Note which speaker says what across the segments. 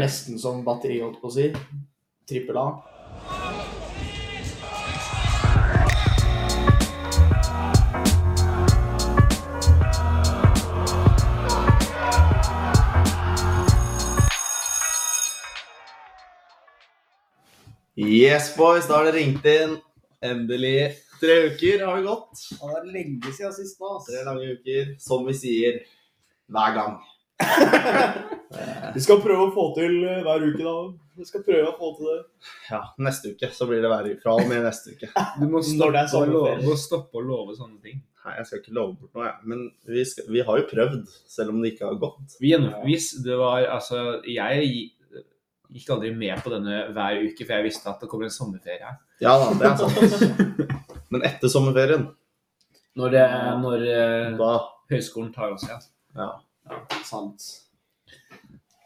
Speaker 1: Nesten som batteri, holdt på å si. Trippel A.
Speaker 2: Yes, boys, da har det ringt inn. Endelig. Tre uker har det gått.
Speaker 1: Det er lenge siden sist nå.
Speaker 2: Tre lange uker, som vi sier hver gang.
Speaker 1: Vi skal prøve å få til eh, hver uke, da. Vi skal prøve å få til det.
Speaker 2: Ja, Neste uke så blir det hver uke. Fra og med neste uke.
Speaker 3: Du må
Speaker 1: Når det
Speaker 3: stoppe,
Speaker 1: er
Speaker 3: å love,
Speaker 1: sommerferie.
Speaker 3: du må stoppe å love sånne ting.
Speaker 2: Nei, jeg skal ikke love bort noe, jeg. Men vi, skal, vi har jo prøvd, selv om det ikke har gått.
Speaker 3: Vi gjennom- hvis det var, altså, jeg gi- gikk aldri med på denne hver uke, for jeg visste at det kommer en sommerferie her.
Speaker 2: Ja da, det er sant. Men etter sommerferien,
Speaker 3: Når, det- når eh,
Speaker 2: da
Speaker 3: høyskolen tar oss igjen.
Speaker 2: ja.
Speaker 1: Sant.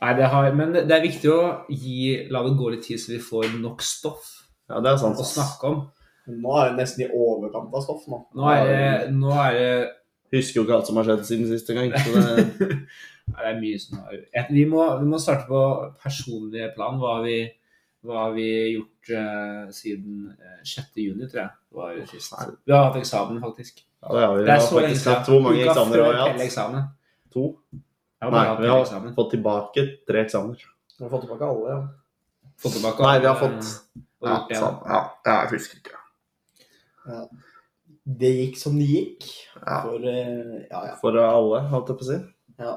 Speaker 3: Nei, det har, men det er viktig å gi, la det gå litt tid så vi får nok stoff
Speaker 2: ja, det er
Speaker 3: å
Speaker 2: sant.
Speaker 3: snakke om.
Speaker 1: Men Nå er det nesten i overkant av stoff nå.
Speaker 3: Nå er det, nå er det,
Speaker 2: Husker jo ikke alt som har skjedd siden siste gang. Så det,
Speaker 3: nei, det er mye som har jeg- vi, må- vi må starte på personlige plan. Hva har vi, hva har vi gjort eh, siden eh, 6. juni, tror jeg. det Var sist.
Speaker 2: Nei.
Speaker 3: Vi har hatt eksamen, faktisk.
Speaker 2: ja, det har vi.
Speaker 3: Det
Speaker 2: Vi
Speaker 3: er
Speaker 2: har
Speaker 3: så lenge
Speaker 2: faktisk
Speaker 3: siden.
Speaker 2: hatt hvor mange
Speaker 3: Uka
Speaker 2: eksamener
Speaker 3: før
Speaker 2: har vi hatt?
Speaker 3: Pelle-eksamen.
Speaker 2: To?
Speaker 3: Jeg har
Speaker 2: Nei,
Speaker 3: bare hatt
Speaker 2: vi har
Speaker 3: Pelle-eksamen.
Speaker 2: fått tilbake tre eksamener.
Speaker 1: Vi har fått tilbake alle, ja.
Speaker 3: Fått tilbake
Speaker 2: Nei, vi har
Speaker 3: alle-
Speaker 2: fått
Speaker 3: og gjort det igjen.
Speaker 2: sant. ja, ja, jeg husker ikke.
Speaker 1: Det gikk som det gikk.
Speaker 2: Ja.
Speaker 1: For eh, ja, ja.
Speaker 2: For alle, holdt jeg på å si.
Speaker 1: ja.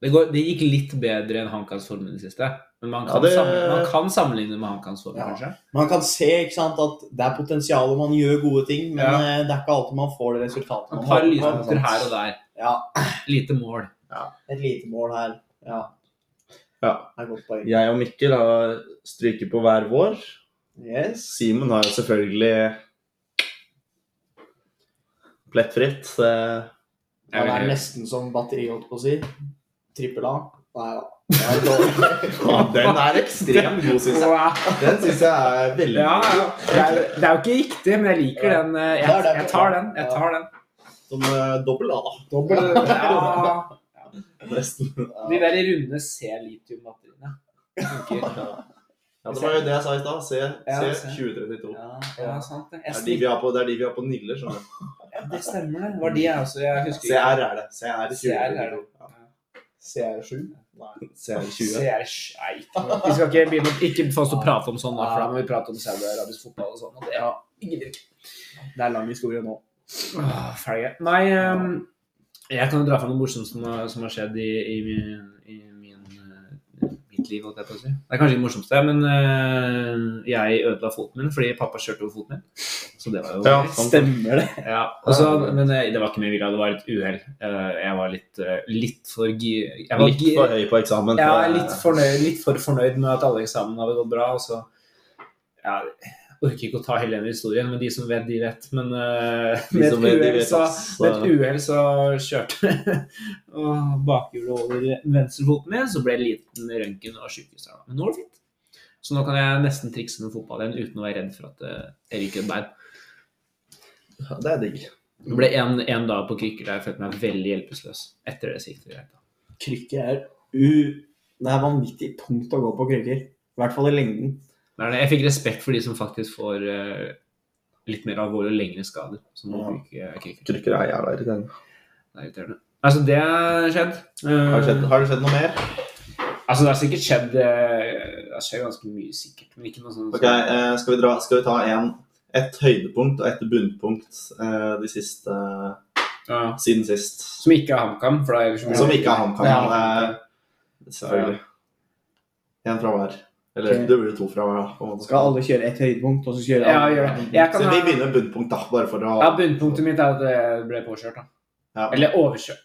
Speaker 3: det, går, det gikk litt bedre enn Hankans form i det siste. Men man kan,
Speaker 2: Ja, det-
Speaker 3: sammenligne, man kan sammenligne med Hankans form,
Speaker 1: Ja.
Speaker 3: kanskje.
Speaker 1: Man kan se ikke sant, at det er potensial, og man gjør gode ting, men
Speaker 3: Ja.
Speaker 1: eh, det er ikke alltid man får det resultatet
Speaker 3: Man
Speaker 1: man
Speaker 3: tar
Speaker 1: håper på,
Speaker 3: lyspunkter
Speaker 1: sant?
Speaker 3: her og der.
Speaker 1: Ja,
Speaker 3: Lite mål.
Speaker 1: Et lite mål her. Ja.
Speaker 2: Ja.
Speaker 1: Det er et godt poeng.
Speaker 2: Jeg og Mikkel har stryker på hver vår.
Speaker 1: Yes.
Speaker 2: Simen har jo selvfølgelig plettfritt. det-
Speaker 3: Jeg
Speaker 1: Han er
Speaker 3: vil-
Speaker 1: nesten som batteri, holdt på å si. Trippel A. Nei da. Det er dårlig.
Speaker 2: Ja, den er ekstremt god, syns jeg.
Speaker 3: Wow.
Speaker 2: Den syns jeg er veldig
Speaker 3: Ja,
Speaker 2: god.
Speaker 3: ja. det, er, det er jo ikke riktig, men jeg liker
Speaker 2: Ja.
Speaker 3: den. eh,
Speaker 1: Det er
Speaker 3: Jeg,
Speaker 1: det.
Speaker 3: jeg tar den. Jeg tar den.
Speaker 2: Som eh, dobbel A, da.
Speaker 1: Dobbel A.
Speaker 3: Ja.
Speaker 2: Nesten.
Speaker 3: De der runde C-litiumbatteriene. Funker.
Speaker 2: Ja, det var jo det jeg sa i stad. Se,
Speaker 3: Ja,
Speaker 2: se 2032.
Speaker 1: Ja,
Speaker 3: Ja, sant det. Jeg
Speaker 2: Det er de
Speaker 3: snitt-
Speaker 2: vi har på, det er de vi har på Niller. skjønner du.
Speaker 3: Det stemmer, det. Det var de jeg også jeg husker. ikke.
Speaker 2: CR er det. CR
Speaker 3: CR er
Speaker 2: 2032.
Speaker 3: det.
Speaker 2: Ja.
Speaker 1: CR7.
Speaker 2: CR20.
Speaker 3: CR Nei, ikke noe. vi skal ikke begynne å ikke få oss til å prate om sånn, da, for da må vi prate om Saudi-Arabisk fotball og sånn. Og det
Speaker 1: Ja.
Speaker 3: gidder ikke.
Speaker 1: Det er lang historie nå.
Speaker 3: Åh, Ah, Ferdig. Nei, ehm, jeg kan jo dra fram noe morsomt som har, som har skjedd i, i, min, i min, eh, mitt liv, holdt jeg på å si. Det er kanskje ikke det morsomste, men eh, jeg ødela foten min fordi pappa kjørte over foten min. Så det var jo
Speaker 2: Ja, sant.
Speaker 1: Stemmer det?
Speaker 3: Ja, og så- men eh, det var ikke med vilje, det var et uhell. Eh, Jeg var litt, eh, litt for gi- jeg var
Speaker 2: Litt
Speaker 3: gi-
Speaker 2: for høy på eksamen.
Speaker 3: Ja, jeg er litt, fornøyd, litt for fornøyd med at alle eksamen hadde gått bra. Og så, ja, jeg orker ikke å ta hele den historien, men de som vet, de vet. Men eh,
Speaker 2: De
Speaker 3: med,
Speaker 2: som vet,
Speaker 3: et
Speaker 2: de
Speaker 3: uhell
Speaker 2: vet,
Speaker 3: så,
Speaker 2: ass.
Speaker 3: med et uhell så kjørte Åh, bakhjulet over venstrefoten min, så ble det liten røntgen og sykehus. der, da. Men nå er det fint. Så nå kan jeg nesten trikse med fotball igjen uten å være redd for at eh, det jeg ryker et bein.
Speaker 2: Ja, Det er digg.
Speaker 3: Det ble én dag på krykker der jeg følte meg veldig hjelpeløs. Etter det så gikk det greit. da.
Speaker 1: Krykker er u... Det er vanvittig tungt å gå på krykker. I hvert fall i lengden.
Speaker 3: Det er det. Jeg fikk respekt for de som faktisk får eh, litt mer alvorlige og lengre skader. Som må
Speaker 2: Ja.
Speaker 3: bruke krykker.
Speaker 2: Krykker er jævla irriterende.
Speaker 3: Det er irriterende. Altså, det har skjedd. Eh,
Speaker 2: Har det skjedd, har det skjedd noe mer?
Speaker 3: Altså, det har sikkert skjedd eh, Det har skjedd ganske mye, sikkert. Men ikke noe sånn
Speaker 2: Ok, eh, skal vi, dra, skal vi ta en, et høydepunkt og et bunnpunkt eh, de siste,
Speaker 3: ja.
Speaker 2: siden sist?
Speaker 3: Som ikke er HamKam. For da er det
Speaker 2: Som ikke er HamKam.
Speaker 1: Ja.
Speaker 2: men, eh, Selvfølgelig. En fra hver. Eller
Speaker 1: Ok.
Speaker 2: det blir jo to fra hver. da, på en måte.
Speaker 1: Skal alle kjøre ett høydepunkt, og så kjører
Speaker 3: Ja,
Speaker 1: alle
Speaker 3: gjør det. Jeg
Speaker 2: Så
Speaker 3: kan
Speaker 2: vi
Speaker 3: ha-
Speaker 2: begynner med bunnpunkt, da. Bare for å
Speaker 3: Ja, Bunnpunktet mitt er at jeg ble påkjørt. da.
Speaker 2: Ja,
Speaker 3: Eller overkjørt.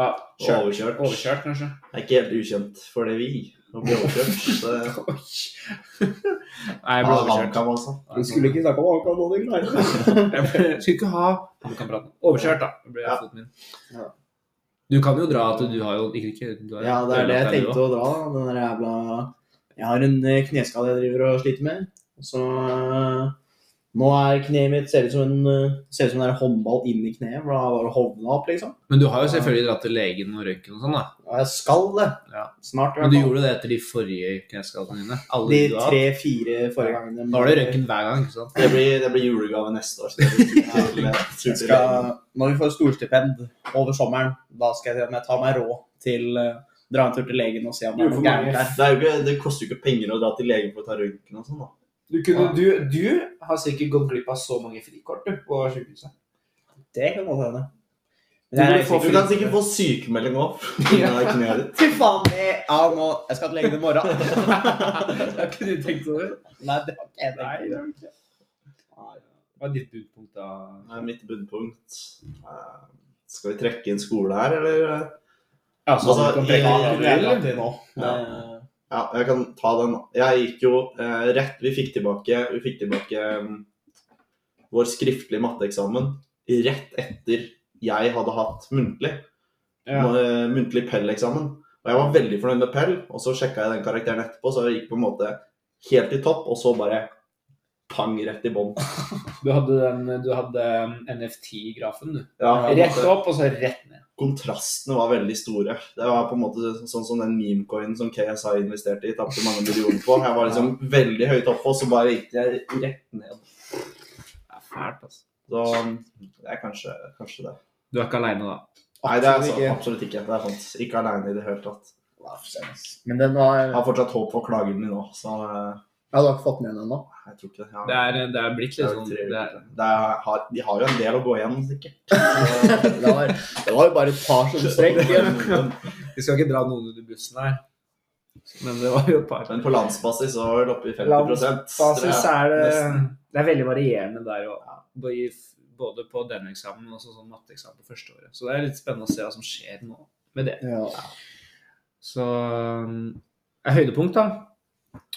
Speaker 3: Ja, kjørt.
Speaker 2: overkjørt.
Speaker 3: Overkjørt, kanskje.
Speaker 2: Det er ikke helt ukjent for det vi å bli overkjørt. Det
Speaker 3: Nei,
Speaker 2: ja,
Speaker 3: jeg ble overkjørt.
Speaker 2: HamKam også.
Speaker 1: Vi skulle ikke snakke om akkurat nå, det klarer vi.
Speaker 3: Jeg Skulle ikke ha Han kan prate. Overkjørt, da. Det ble
Speaker 2: Ja.
Speaker 3: foten min.
Speaker 1: Ja.
Speaker 3: Du kan jo dra at du har jo ikke, ikke, du har,
Speaker 1: Ja, det er det jeg
Speaker 3: du også.
Speaker 1: tenkte å dra. da. Den der jævla Jeg har en eh, kneskade jeg driver og sliter med. Og så eh, Nå er kneet mitt ser ut som en, eh, ser ut som en der håndball inni kneet. For da var det hovna opp, liksom.
Speaker 3: Men du har jo selvfølgelig dratt til legen og røyken og sånn, da.
Speaker 1: Og jeg skal det.
Speaker 3: Ja.
Speaker 1: Snart. i hvert
Speaker 3: Men du
Speaker 1: fall.
Speaker 3: gjorde det etter de forrige kneskadene dine? Alle
Speaker 1: de
Speaker 3: du har hatt?
Speaker 1: tre-fire forrige gangene.
Speaker 3: Da var det røyken hver gang, ikke sant?
Speaker 1: Det blir, det blir julegave neste år. Så det blir ikke til, eh, jeg skal, når vi får storstipend over sommeren, da skal jeg, se om jeg ta meg råd til eh, dra en tur til legen og se om det er noe gærent der.
Speaker 2: Det, er jo ikke, det koster jo ikke penger å dra til legen for å ta røntgen og sånn, da.
Speaker 4: Du, kunne, du, du har sikkert gått glipp av så mange frikort du, på sykehuset.
Speaker 1: Det kan godt hende. Men
Speaker 4: Du
Speaker 1: jeg er
Speaker 4: burde få
Speaker 1: sikker-
Speaker 2: Du kan sikkert få sykemelding òg.
Speaker 1: Fy faen, jeg, ja, nå, jeg skal til legen i morgen.
Speaker 3: Har ikke du tenkt over det?
Speaker 1: Nei, det var ikke jeg tenkt.
Speaker 3: det har du ikke. Hva er ditt budpunkt da?
Speaker 2: Mitt bunnpunkt eh, Skal vi trekke inn skole her, eller?
Speaker 3: Ja, så
Speaker 2: Altså,
Speaker 3: du kan
Speaker 2: i-
Speaker 3: trekke
Speaker 1: Ja, det er
Speaker 3: av
Speaker 1: lagt i nå.
Speaker 2: Ja.
Speaker 1: Eh,
Speaker 2: Ja, jeg kan ta den. Jeg gikk jo eh, rett Vi fikk tilbake, vi fikk tilbake mm, vår skriftlige matteeksamen rett etter jeg hadde hatt muntlig.
Speaker 3: Ja.
Speaker 2: Nå, eh, Muntlig Pell-eksamen. Og jeg var veldig fornøyd med Pell, og så sjekka jeg den karakteren etterpå, så jeg gikk på en måte helt i topp, og så bare pang rett i bånn.
Speaker 3: Du hadde, den- du hadde um, NFT-grafen, du.
Speaker 2: Ja, på en
Speaker 3: Rett
Speaker 2: måte,
Speaker 3: opp og så rett ned.
Speaker 2: kontrastene var veldig store. Det var på en måte sånn som den memecoinen som KSI investerte i, tapte mange millioner på. Jeg var liksom veldig høyt oppe, og så bare gikk jeg rett ned.
Speaker 3: Ja, fælt, altså.
Speaker 2: Så um, det er kanskje, kanskje det.
Speaker 3: Du er ikke aleine, da.
Speaker 2: Nei, det er
Speaker 1: Absolutt
Speaker 2: så,
Speaker 1: ikke.
Speaker 2: absolutt ikke. Det er sant. Ikke aleine i det hele tatt.
Speaker 1: hva for sens. Men den var
Speaker 2: Jeg
Speaker 1: Ja,
Speaker 2: har fortsatt håp for klagen min nå, så eh,
Speaker 1: Du har ikke fått med den ennå?
Speaker 2: jeg tror ikke det. Ja.
Speaker 3: Det er, det er blitt
Speaker 2: Det
Speaker 3: litt
Speaker 2: er jo
Speaker 3: sånn
Speaker 2: tre
Speaker 3: det er,
Speaker 2: uker. Det er, har, de har jo en del å gå igjennom, sikkert.
Speaker 1: Det var det var jo bare et par som strekk.
Speaker 3: Vi skal ikke dra noen under bussen her, men det var jo et par.
Speaker 2: Men på landsbasis så er det oppe i 50
Speaker 3: Landsbasis
Speaker 2: Det er-
Speaker 3: er det
Speaker 2: nesten.
Speaker 3: Det er veldig varierende der òg. Både på denne eksamen og også sånn matteeksamen på første året. Så det er litt spennende å se hva som skjer nå med det.
Speaker 1: Ja.
Speaker 3: Så um, er høydepunkt, da.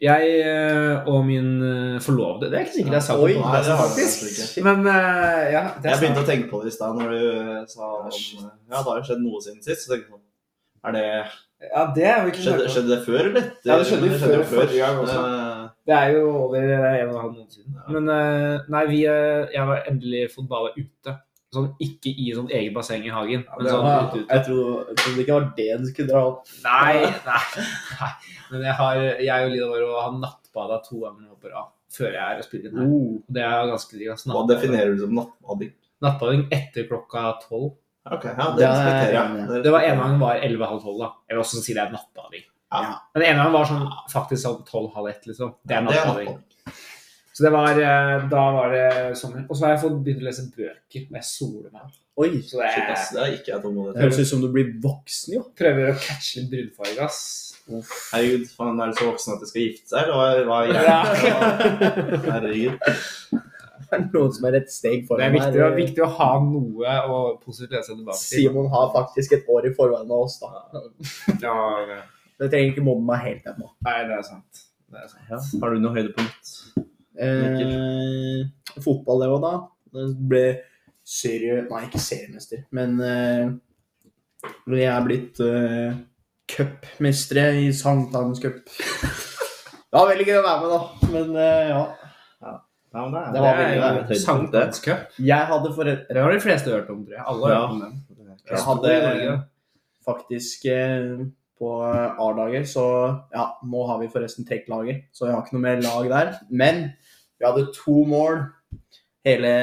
Speaker 3: Jeg eh, og min eh, forlovede Det er ikke sikkert jeg har sagt
Speaker 1: Oi,
Speaker 3: det på
Speaker 2: Nei, det har du kanskje
Speaker 3: podcasten, faktisk. Men eh, ja, det
Speaker 2: Jeg
Speaker 3: er
Speaker 2: begynte å
Speaker 3: snart.
Speaker 2: tenke på det i stad når du eh, sa om eh, Ja, det har jo skjedd noe siden sist. Så tenkte jeg sånn er det,
Speaker 3: Ja, det er jo ikke
Speaker 2: skjedde,
Speaker 3: snakket om.
Speaker 2: skjedde det før, eller? etter?
Speaker 3: Ja, det skjedde
Speaker 2: jo
Speaker 3: før forrige gang
Speaker 2: Eh,
Speaker 3: Det er jo over en og en halv måned siden. Men eh, nei, vi, eh, jeg var endelig fått bada ute. Sånn, ikke i sånn eget basseng i hagen. Men sånn
Speaker 1: Ja,
Speaker 3: ute, ute.
Speaker 1: Jeg trodde jeg trodde ikke det var det du skulle dra opp.
Speaker 3: Nei, nei, nei. Men jeg, har, jeg og Lina vår har nattbada to ganger nå på rad før jeg er og spiller inn her.
Speaker 1: Oh,
Speaker 3: Og Det er jo ganske digg. ass.
Speaker 2: Hva
Speaker 3: Natt-
Speaker 2: definerer du som nattbading?
Speaker 3: Nattbading etter klokka tolv.
Speaker 2: Ok, ja,
Speaker 1: Det er
Speaker 2: det
Speaker 1: jeg
Speaker 2: respekterer
Speaker 1: enig i.
Speaker 2: jeg.
Speaker 3: Det var en gang var 11.30, da. Jeg vil også si det er nattbading.
Speaker 2: Ja.
Speaker 3: Men en gang var sånn faktisk sånn 12.30, liksom. Det er
Speaker 2: Det er
Speaker 3: nattbading. Så det var, eh, da var det sommer. Og så har jeg fått begynt å lese bøker, og jeg soler meg.
Speaker 1: Oi.
Speaker 3: Så det
Speaker 2: Shit, ass,
Speaker 3: er,
Speaker 2: det er ikke jeg tålmodig
Speaker 1: Det høres ut som du blir voksen, jo.
Speaker 3: prøver å catche litt brunfarge, ass.
Speaker 2: Herregud, faen, er du så voksen at du skal gifte seg, eller hva, hva er Herregud.
Speaker 1: Det er noen som er et steg
Speaker 3: Det er
Speaker 1: foran
Speaker 3: viktig, det er viktig å ha noe å positivt lese tilbake til.
Speaker 1: Simon har faktisk et år i forveien av oss, da.
Speaker 3: Ja, det-
Speaker 1: Det trenger ikke mobben meg helt ennå.
Speaker 3: Nei, det er sant. Det er sant.
Speaker 2: Har du noe høydepunkt?
Speaker 1: Eh, fotball, det òg, da. Det ble serie... Nei, ikke seriemester, men eh, jeg er blitt eh, cupmestere i Sankthans cup. Det var veldig gøy å være med, da. Men eh, ja.
Speaker 2: Ja, men det er,
Speaker 1: Det var veldig
Speaker 2: det
Speaker 1: bra.
Speaker 2: er et høydepunkt, det.
Speaker 3: Sankthanscup.
Speaker 1: Jeg hadde forel-
Speaker 3: Det har de fleste hørt om, tror jeg. Alle har
Speaker 2: Ja.
Speaker 3: hørt om den.
Speaker 1: Jeg
Speaker 3: Stor i Norge.
Speaker 1: hadde faktisk eh, på A-dager, så ja, nå har vi forresten trekklager, så jeg har ikke noe mer lag der. Men vi hadde to mål hele,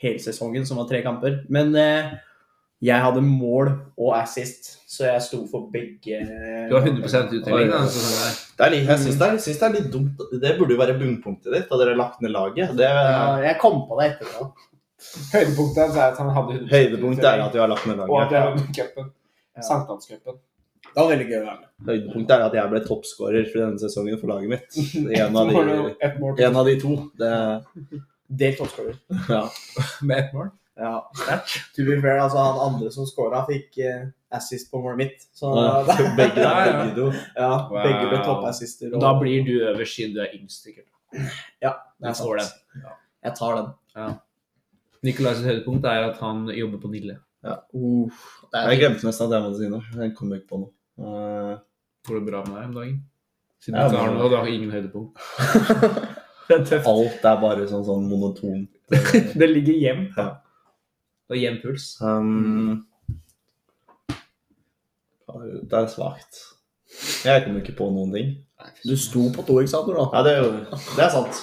Speaker 1: hele sesongen, som var tre kamper. Men eh, jeg hadde mål og assist, så jeg sto for begge. eh,
Speaker 3: Du har 100 uttelling. da, så sånn der.
Speaker 2: Det er litt, jeg syns det, er- jeg synes det er litt dumt. Det burde jo være bunnpunktet ditt, da dere lagt ned laget. Det,
Speaker 1: Ja, jeg kom på det etterpå.
Speaker 3: Høydepunktet hans er at han hadde 100
Speaker 2: høydepunktet er at vi har lagt ned
Speaker 3: Og at
Speaker 2: laget.
Speaker 3: jeg var med i cupen.
Speaker 1: Ja.
Speaker 3: Sankthanscupen.
Speaker 1: Det var veldig gøy å være med.
Speaker 2: Høydepunktet er at jeg ble toppskårer for denne sesongen for laget mitt. En
Speaker 3: Så
Speaker 2: av
Speaker 3: får du
Speaker 2: de,
Speaker 3: ett mål til.
Speaker 2: en av de to. Det,
Speaker 1: Delt toppskårer.
Speaker 2: ja.
Speaker 3: med ett mål.
Speaker 1: Ja, sterk. To be fair, altså han andre som scora, fikk eh, assist på målet mitt. Så
Speaker 2: Begge der,
Speaker 3: Ah, Ja, ja.
Speaker 2: begge to.
Speaker 1: ja, begge ble
Speaker 3: Wow.
Speaker 1: toppassister.
Speaker 3: Da blir du øverst siden du er yngst, sikkert.
Speaker 1: Det er
Speaker 3: Du får
Speaker 1: sant. Jeg tar den.
Speaker 3: Nikolais høydepunkt er at han jobber på Nille.
Speaker 1: Uff, det
Speaker 2: Jeg glemte nesten at jeg måtte si noe. Jeg kom ikke på noe. Eh,
Speaker 3: Går det bra med deg om dagen? Siden
Speaker 2: Ja,
Speaker 3: du ikke
Speaker 2: men-
Speaker 3: har noe, du har ingen høydepunkt. Det er tøft.
Speaker 2: Alt er bare sånn, sånn monotont.
Speaker 3: Det ligger jevnt. da.
Speaker 2: Ja.
Speaker 3: Og jevn puls.
Speaker 2: Um, det er svakt. Jeg kommer ikke på noen ting.
Speaker 1: Du sto på to eksamener, da.
Speaker 2: Ja, det er, jo, det er sant.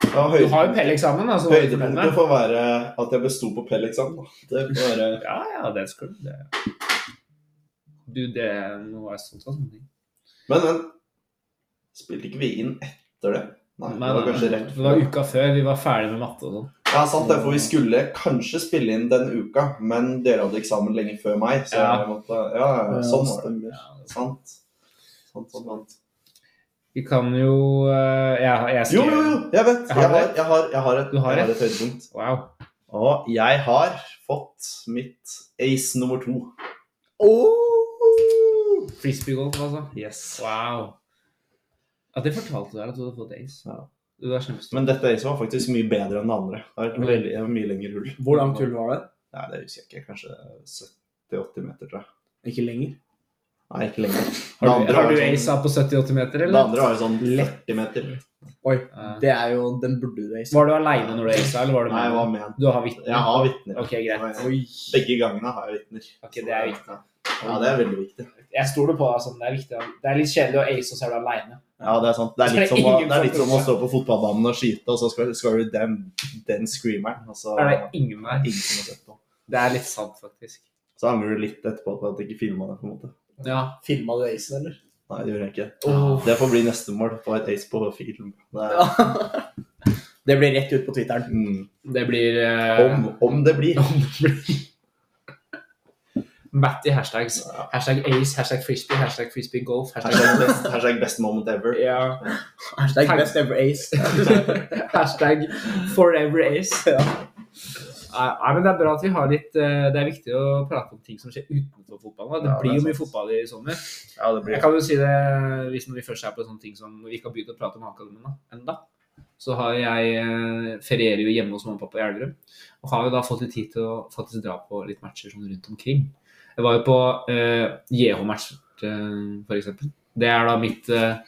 Speaker 2: Det var
Speaker 3: Du
Speaker 2: høyde-
Speaker 3: har jo Pell-eksamen. Altså,
Speaker 2: høydepunktet får være at jeg besto på Pell-eksamen. da. Det får være
Speaker 3: Ja, ja, det skal du. Det. Du, det Nå er jeg stolt av sånne ting.
Speaker 2: Men, men Spilte ikke vi inn etter det? Nei, det var kanskje rett
Speaker 3: Det var uka før vi var ferdig med matte og sånn.
Speaker 2: Ja, sant det, for vi skulle kanskje spille inn den uka, men dere hadde eksamen lenge før meg, så
Speaker 3: Ja.
Speaker 2: jeg måtte Ja, ja, sånn var det.
Speaker 1: stemmer.
Speaker 2: Sant. Sant, sant, sant.
Speaker 3: Vi kan jo eh, Jeg, jeg
Speaker 2: Jo, jo, jo, jeg vet.
Speaker 3: Jeg har
Speaker 2: Jeg har,
Speaker 3: det.
Speaker 2: jeg har, jeg har, et,
Speaker 3: Du har
Speaker 2: jeg har
Speaker 3: det.
Speaker 2: et høydepunkt.
Speaker 3: Wow.
Speaker 2: Og jeg har fått mitt ace nummer to.
Speaker 3: Frisbeegolf, altså.
Speaker 2: Yes.
Speaker 3: Wow. Ja, det fortalte du her, at du hadde fått ace.
Speaker 2: Ja.
Speaker 3: Du er kjempestolt.
Speaker 2: Men dette acet var faktisk mye bedre enn det andre. Det var et veldig, et mye lengre hull.
Speaker 1: Hvor langt hull var det?
Speaker 2: Nei, det husker jeg ikke. Kanskje 70-80 meter, tror jeg.
Speaker 1: Ikke lenger.
Speaker 2: Nei, ikke lenger. Det
Speaker 3: Har du,
Speaker 2: andre
Speaker 3: har
Speaker 2: var
Speaker 3: du
Speaker 2: sånn-
Speaker 3: ace av på 70-80 meter,
Speaker 2: Det
Speaker 3: eller?
Speaker 2: andre var jo sånn 40 meter.
Speaker 1: Oi,
Speaker 3: Ja.
Speaker 1: det er jo Den burde du reise.
Speaker 3: Var du aleine når du acea, eller var du
Speaker 2: Nei, jeg var
Speaker 3: med?
Speaker 2: med.
Speaker 3: Du har vitne?
Speaker 2: Jeg har vitner.
Speaker 3: Ok, greit.
Speaker 1: Oi.
Speaker 2: Begge gangene har jeg vitner.
Speaker 3: Ok, det er viktig.
Speaker 2: Ja, det er veldig viktig.
Speaker 4: Jeg stoler på deg. Sånn. Det, er viktig. å- det er litt kjedelig å ace, og så er du aleine.
Speaker 2: Ja, det er sant. Det er litt som å, det er litt som å stå på fotballbanen og skyte, og så skal, skal du den, den screameren. Og så
Speaker 3: Er det ingen der?
Speaker 2: ingen som har sett på.
Speaker 3: Det er litt sant, faktisk.
Speaker 2: Så angrer du litt etterpå på at jeg ikke filma det, på en måte.
Speaker 3: Ja.
Speaker 1: Filma du acen, eller?
Speaker 2: Nei, det gjør jeg ikke. Det får bli neste mål. Få et ace på film. Det er,
Speaker 1: Det blir rett ut på Twitteren.
Speaker 2: mm,
Speaker 3: Det blir eh,
Speaker 2: om, om det blir.
Speaker 3: om det blir. Matty hashtags.
Speaker 2: Ja.
Speaker 3: Hashtag ace, hashtag frisbee, hashtag frisbee golf. Hashtag,
Speaker 2: Hashtag best, hashtag best moment ever.
Speaker 3: ja.
Speaker 1: Hashtag
Speaker 3: Tag.
Speaker 1: best ever ace.
Speaker 3: hashtag forever ace.
Speaker 1: Ja.
Speaker 3: Nei, nei, men Det er bra at vi har litt eh, Det er viktig å prate om ting som skjer utenfor fotballen. da.
Speaker 2: Ja, det
Speaker 3: Det blir
Speaker 2: er
Speaker 3: jo mye
Speaker 2: sant.
Speaker 3: fotball i sommer.
Speaker 2: Ja, det blir
Speaker 3: Jeg kan jo si det hvis når vi først er på sånne ting som vi ikke har begynt å prate om Hakademien da, enda. Så har jeg eh, ferierer jo hjemme hos mamma og pappa i Elverum. Og har jo da fått litt tid til å faktisk dra på litt matcher sånn rundt omkring. Jeg var jo på eh, JH-match, eh, for eksempel. Det er da mitt eh,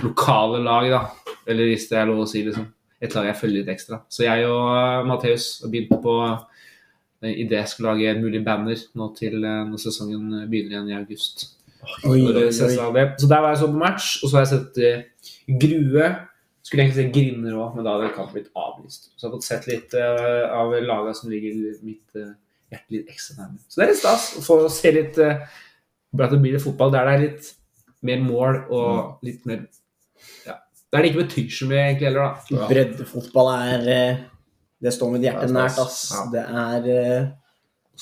Speaker 3: lokale lag, da. Eller hvis det er lov å si, liksom. Et lag jeg følger litt ekstra. Så jeg og eh, Matheus begynte på eh, i det jeg skulle lage en mulig banner nå til eh, når sesongen begynner igjen i august.
Speaker 1: Oi,
Speaker 3: Når det ses av det. Så der var jeg så på match, og så har jeg sett eh, Grue. Skulle egentlig se Grinner òg, men da hadde kampen blitt avlyst. Så jeg har fått sett litt eh, av laga som ligger mitt eh, hjerte litt ekstra nærme. Så det er litt stas å få se litt eh, bare At det blir litt fotball der det er litt mer mål
Speaker 1: Mm.
Speaker 3: og litt mer Ja. Der det ikke betyr så mye egentlig heller, da.
Speaker 1: Breddefotball er eh, Det står mitt hjerte
Speaker 2: Det er stas.
Speaker 1: nært, ass. Det er eh,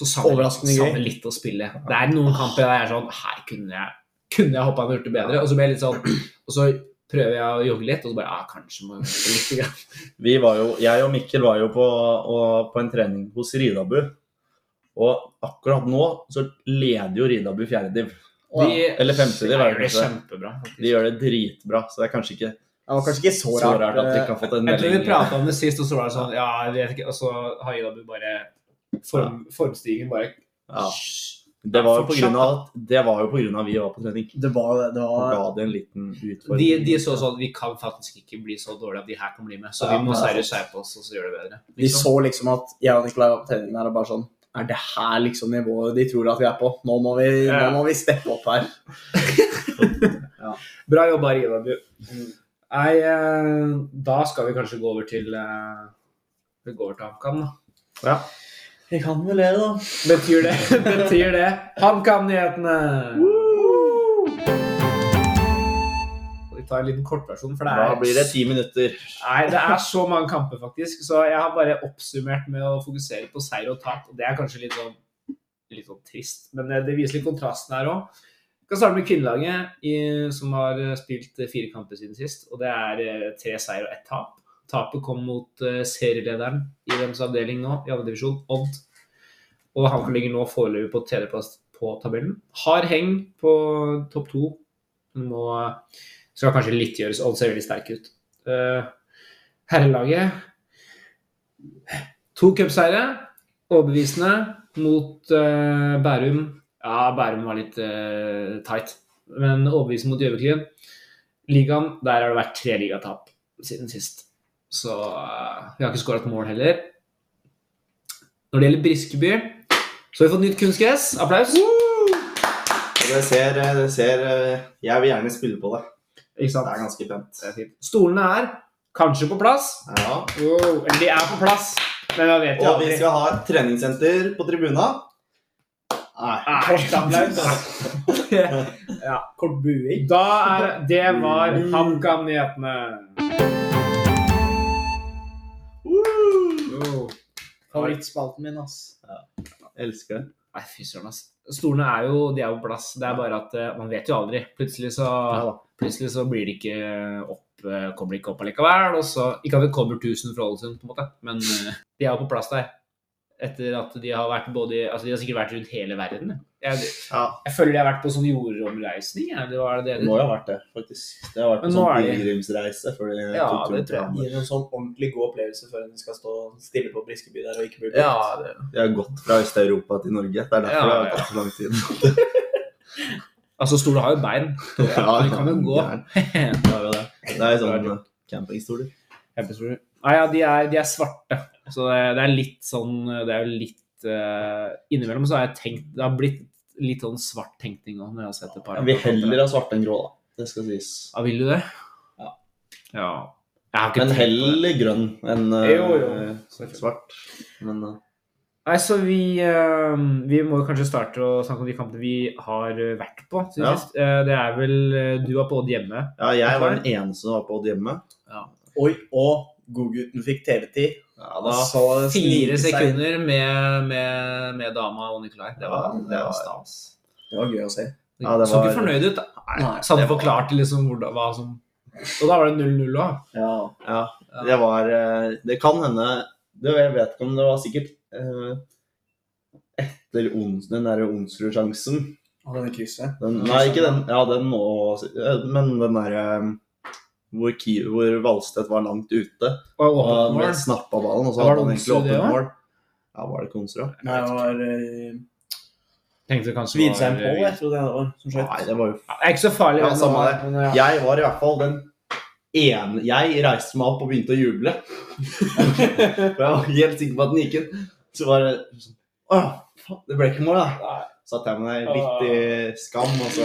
Speaker 3: Så savner
Speaker 1: Overraskende
Speaker 3: savner
Speaker 1: gøy.
Speaker 3: litt å spille. Det er noen kamper der jeg er sånn Her kunne jeg, kunne jeg hoppa og gjort det bedre. Og så blir jeg litt sånn Og så prøver jeg å jogge litt, og så bare Ja, kanskje må jeg jogge litt. grann».
Speaker 2: Vi var jo, jeg og Mikkel var jo på, og, på en trening hos Ridabu. Og akkurat nå så leder jo Ridabu fjerdediv.
Speaker 1: Det
Speaker 2: Eller femtediv, er det
Speaker 3: gjør det
Speaker 2: kanskje.
Speaker 3: kjempebra. faktisk.
Speaker 2: De gjør det dritbra, så det er kanskje ikke
Speaker 1: var kanskje ikke så
Speaker 2: så
Speaker 1: rart.
Speaker 2: rart at de
Speaker 1: eh,
Speaker 2: ikke har fått en
Speaker 3: Jeg tror vi
Speaker 2: melding.
Speaker 3: prata om det sist, og så var det sånn Ja, jeg vet ikke Og så har Idabu bare form, Formstigen bare
Speaker 2: Ja. Det var jo på grunn av at det var jo på grunn av vi var på trening.
Speaker 1: Det var, det
Speaker 2: Og
Speaker 1: var
Speaker 2: ga det en liten utfordring.
Speaker 3: de, de så sånn Vi kan faktisk ikke bli så dårlige at de her kan bli med, så
Speaker 1: Ja,
Speaker 3: vi må
Speaker 1: det er
Speaker 3: seriøst skjerpe oss og så gjøre det bedre.
Speaker 1: Vi så liksom at jeg og Nicolai var på trening der og bare sånn Er det her liksom nivået de tror at vi er på? Nå må vi, nå
Speaker 3: Ja.
Speaker 1: må vi steppe opp her.
Speaker 3: Bra jobba, Idabu.
Speaker 2: Mm.
Speaker 3: Nei, eh, da skal vi kanskje gå over til eh, Vi går over til HamKam, da.
Speaker 1: Vi kan vel det, da.
Speaker 3: Betyr det, betyr det HamKam-nyhetene! Vi tar en liten kortversjon, for det er
Speaker 2: Da blir det ti minutter.
Speaker 3: Nei, det er så mange kamper, faktisk. Så jeg har bare oppsummert med å fokusere på seier og tap. Og det er kanskje litt sånn, litt sånn trist, men det viser litt kontrasten her òg. Vi kan starte med kvinnelaget, i- som har eh, spilt eh, fire kamper siden sist. Og det er eh, tre seier og ett tap. Tapet kom mot eh, serielederen i deres avdeling nå, i andre divisjon, Odd. Og han ligger nå foreløpig på tredjeplass på tabellen. Har heng på topp to. Må, skal kanskje litt gjøres. Odd ser veldig sterk ut. Eh, herrelaget. To cupseire, overbevisende, mot eh, Bærum. Ja, Bærum var litt eh, tight, men overbevisende mot Gjøviklyn. Ligaen, der har det vært tre ligatap siden sist. Så eh, vi har ikke skåra et mål heller. Når det gjelder Briskeby, så har vi fått nytt kunstgress. Applaus.
Speaker 2: Og det ser, eh, det ser Jeg vil gjerne spille på det. Det
Speaker 3: Ikke
Speaker 2: er
Speaker 3: sant?
Speaker 2: ganske pent.
Speaker 3: Stolene er kanskje på plass.
Speaker 2: Ja.
Speaker 3: Wow. Eller de er på plass, men jeg vet jo
Speaker 2: Og vi
Speaker 3: aldri.
Speaker 2: skal ha et treningssenter på tribuna. Nei.
Speaker 1: Kort buing.
Speaker 3: Da er Det var HamKam-nyhetene. Wow.
Speaker 1: Favorittspalten min, ass.
Speaker 2: Elsker det.
Speaker 3: Nei, fy søren, ass. Stolene er jo de er jo på plass. Det er bare at eh, man vet jo aldri. Plutselig så, plutselig så blir det ikke opp, eh, kommer det ikke opp allikevel. Og så, ikke at det kommer 1000 fra Ålesund, på en måte, men eh, de er jo på plass der. Etter at de har vært både Altså, de har sikkert vært rundt hele verden. Jeg,
Speaker 2: Ja.
Speaker 3: jeg føler de har vært på sånn jordomreisning, jeg. Det var det
Speaker 2: Det må jo ha vært det, faktisk. Det har vært
Speaker 3: Men
Speaker 2: en
Speaker 3: nå er
Speaker 2: sånn
Speaker 3: de-
Speaker 2: pilegrimsreise. før de
Speaker 3: Ja,
Speaker 2: tok turen
Speaker 3: det tror jeg.
Speaker 2: til
Speaker 1: Gi en sånn ordentlig god opplevelse før hun skal stå stille på Briskeby der og ikke bli
Speaker 3: det
Speaker 2: Hamburg. De har gått fra Øst-Europa til Norge. Det er derfor
Speaker 3: Ja,
Speaker 2: det har tatt så lang tid.
Speaker 3: Altså, stoler har jo bein.
Speaker 2: Ja,
Speaker 3: de kan jo gå.
Speaker 2: gæren. Det er jo det. Det er sånn eh, campingstoler.
Speaker 3: Kjempestoler. Nei, ja, de er, de er svarte. Så det, det er litt sånn Det er jo litt eh, Innimellom så har jeg tenkt Det har blitt litt sånn svart tenkning òg, når jeg har sett et par.
Speaker 2: Vi heller har svarte enn grå, da. Det skal sies.
Speaker 3: Ja, vil du det?
Speaker 2: Ja.
Speaker 3: Ja. Jeg har ikke
Speaker 2: Men
Speaker 3: tenkt på det.
Speaker 2: heller grønn enn eh,
Speaker 3: Jo, jo.
Speaker 2: svart. Men eh,
Speaker 3: Nei, så vi, eh, vi må jo kanskje starte å snakke om de kampene vi har eh, vært på. siden
Speaker 2: Ja.
Speaker 3: sist. Eh, det er vel eh, Du var på Odd hjemme.
Speaker 2: ja, jeg var den eneste som var på Odd hjemme.
Speaker 1: Oi, og godgutten fikk TV-tid.
Speaker 2: Ja, da,
Speaker 1: Så snike
Speaker 3: Fire
Speaker 1: seg-
Speaker 3: sekunder med, med, med dama og Nikolai. Det var,
Speaker 2: Ja, det
Speaker 3: det
Speaker 2: var-
Speaker 3: var stas.
Speaker 1: Det var gøy å se.
Speaker 3: Det
Speaker 2: Ja, det
Speaker 3: så ikke
Speaker 2: var-
Speaker 3: fornøyd ut. da.
Speaker 1: Nei,
Speaker 3: Så hadde
Speaker 2: det
Speaker 3: jeg forklart liksom hvordan, hva som Og da var det 0-0 òg.
Speaker 1: Ja.
Speaker 2: ja, det var eh, Det kan hende det, Jeg vet ikke om det var sikkert eh, etter ons, den derre onsdagssjansen
Speaker 1: Og denne krysset.
Speaker 2: Den, nei, ikke den. Ja, den nå eh, Men den derre hvor, Ki- hvor Valstedt var langt ute
Speaker 3: Og åpnet
Speaker 2: og
Speaker 3: mål.
Speaker 2: snappa ballen, og så
Speaker 3: Ja, var
Speaker 2: hadde han
Speaker 3: det
Speaker 2: egentlig
Speaker 3: Onsrud det
Speaker 2: åpent
Speaker 3: også?
Speaker 2: mål. Ja, var det ikke Onsrud?
Speaker 1: Nei, det var eh,
Speaker 3: Tenkte kanskje det var-
Speaker 1: Svidsheim Pål, jeg tror det var, som skjøt.
Speaker 2: Nei, det var jo
Speaker 3: Ja, Det er ikke så farlig.
Speaker 2: Ja,
Speaker 3: hvem
Speaker 2: samme
Speaker 3: var,
Speaker 2: det.
Speaker 3: men ja.
Speaker 2: Jeg var i hvert fall den ene Jeg reiste meg opp og begynte å juble. For jeg var helt sikker på at den gikk inn. Så bare sånn Å, faen, det ble ikke mål, da. Satt jeg med meg litt i skam, og så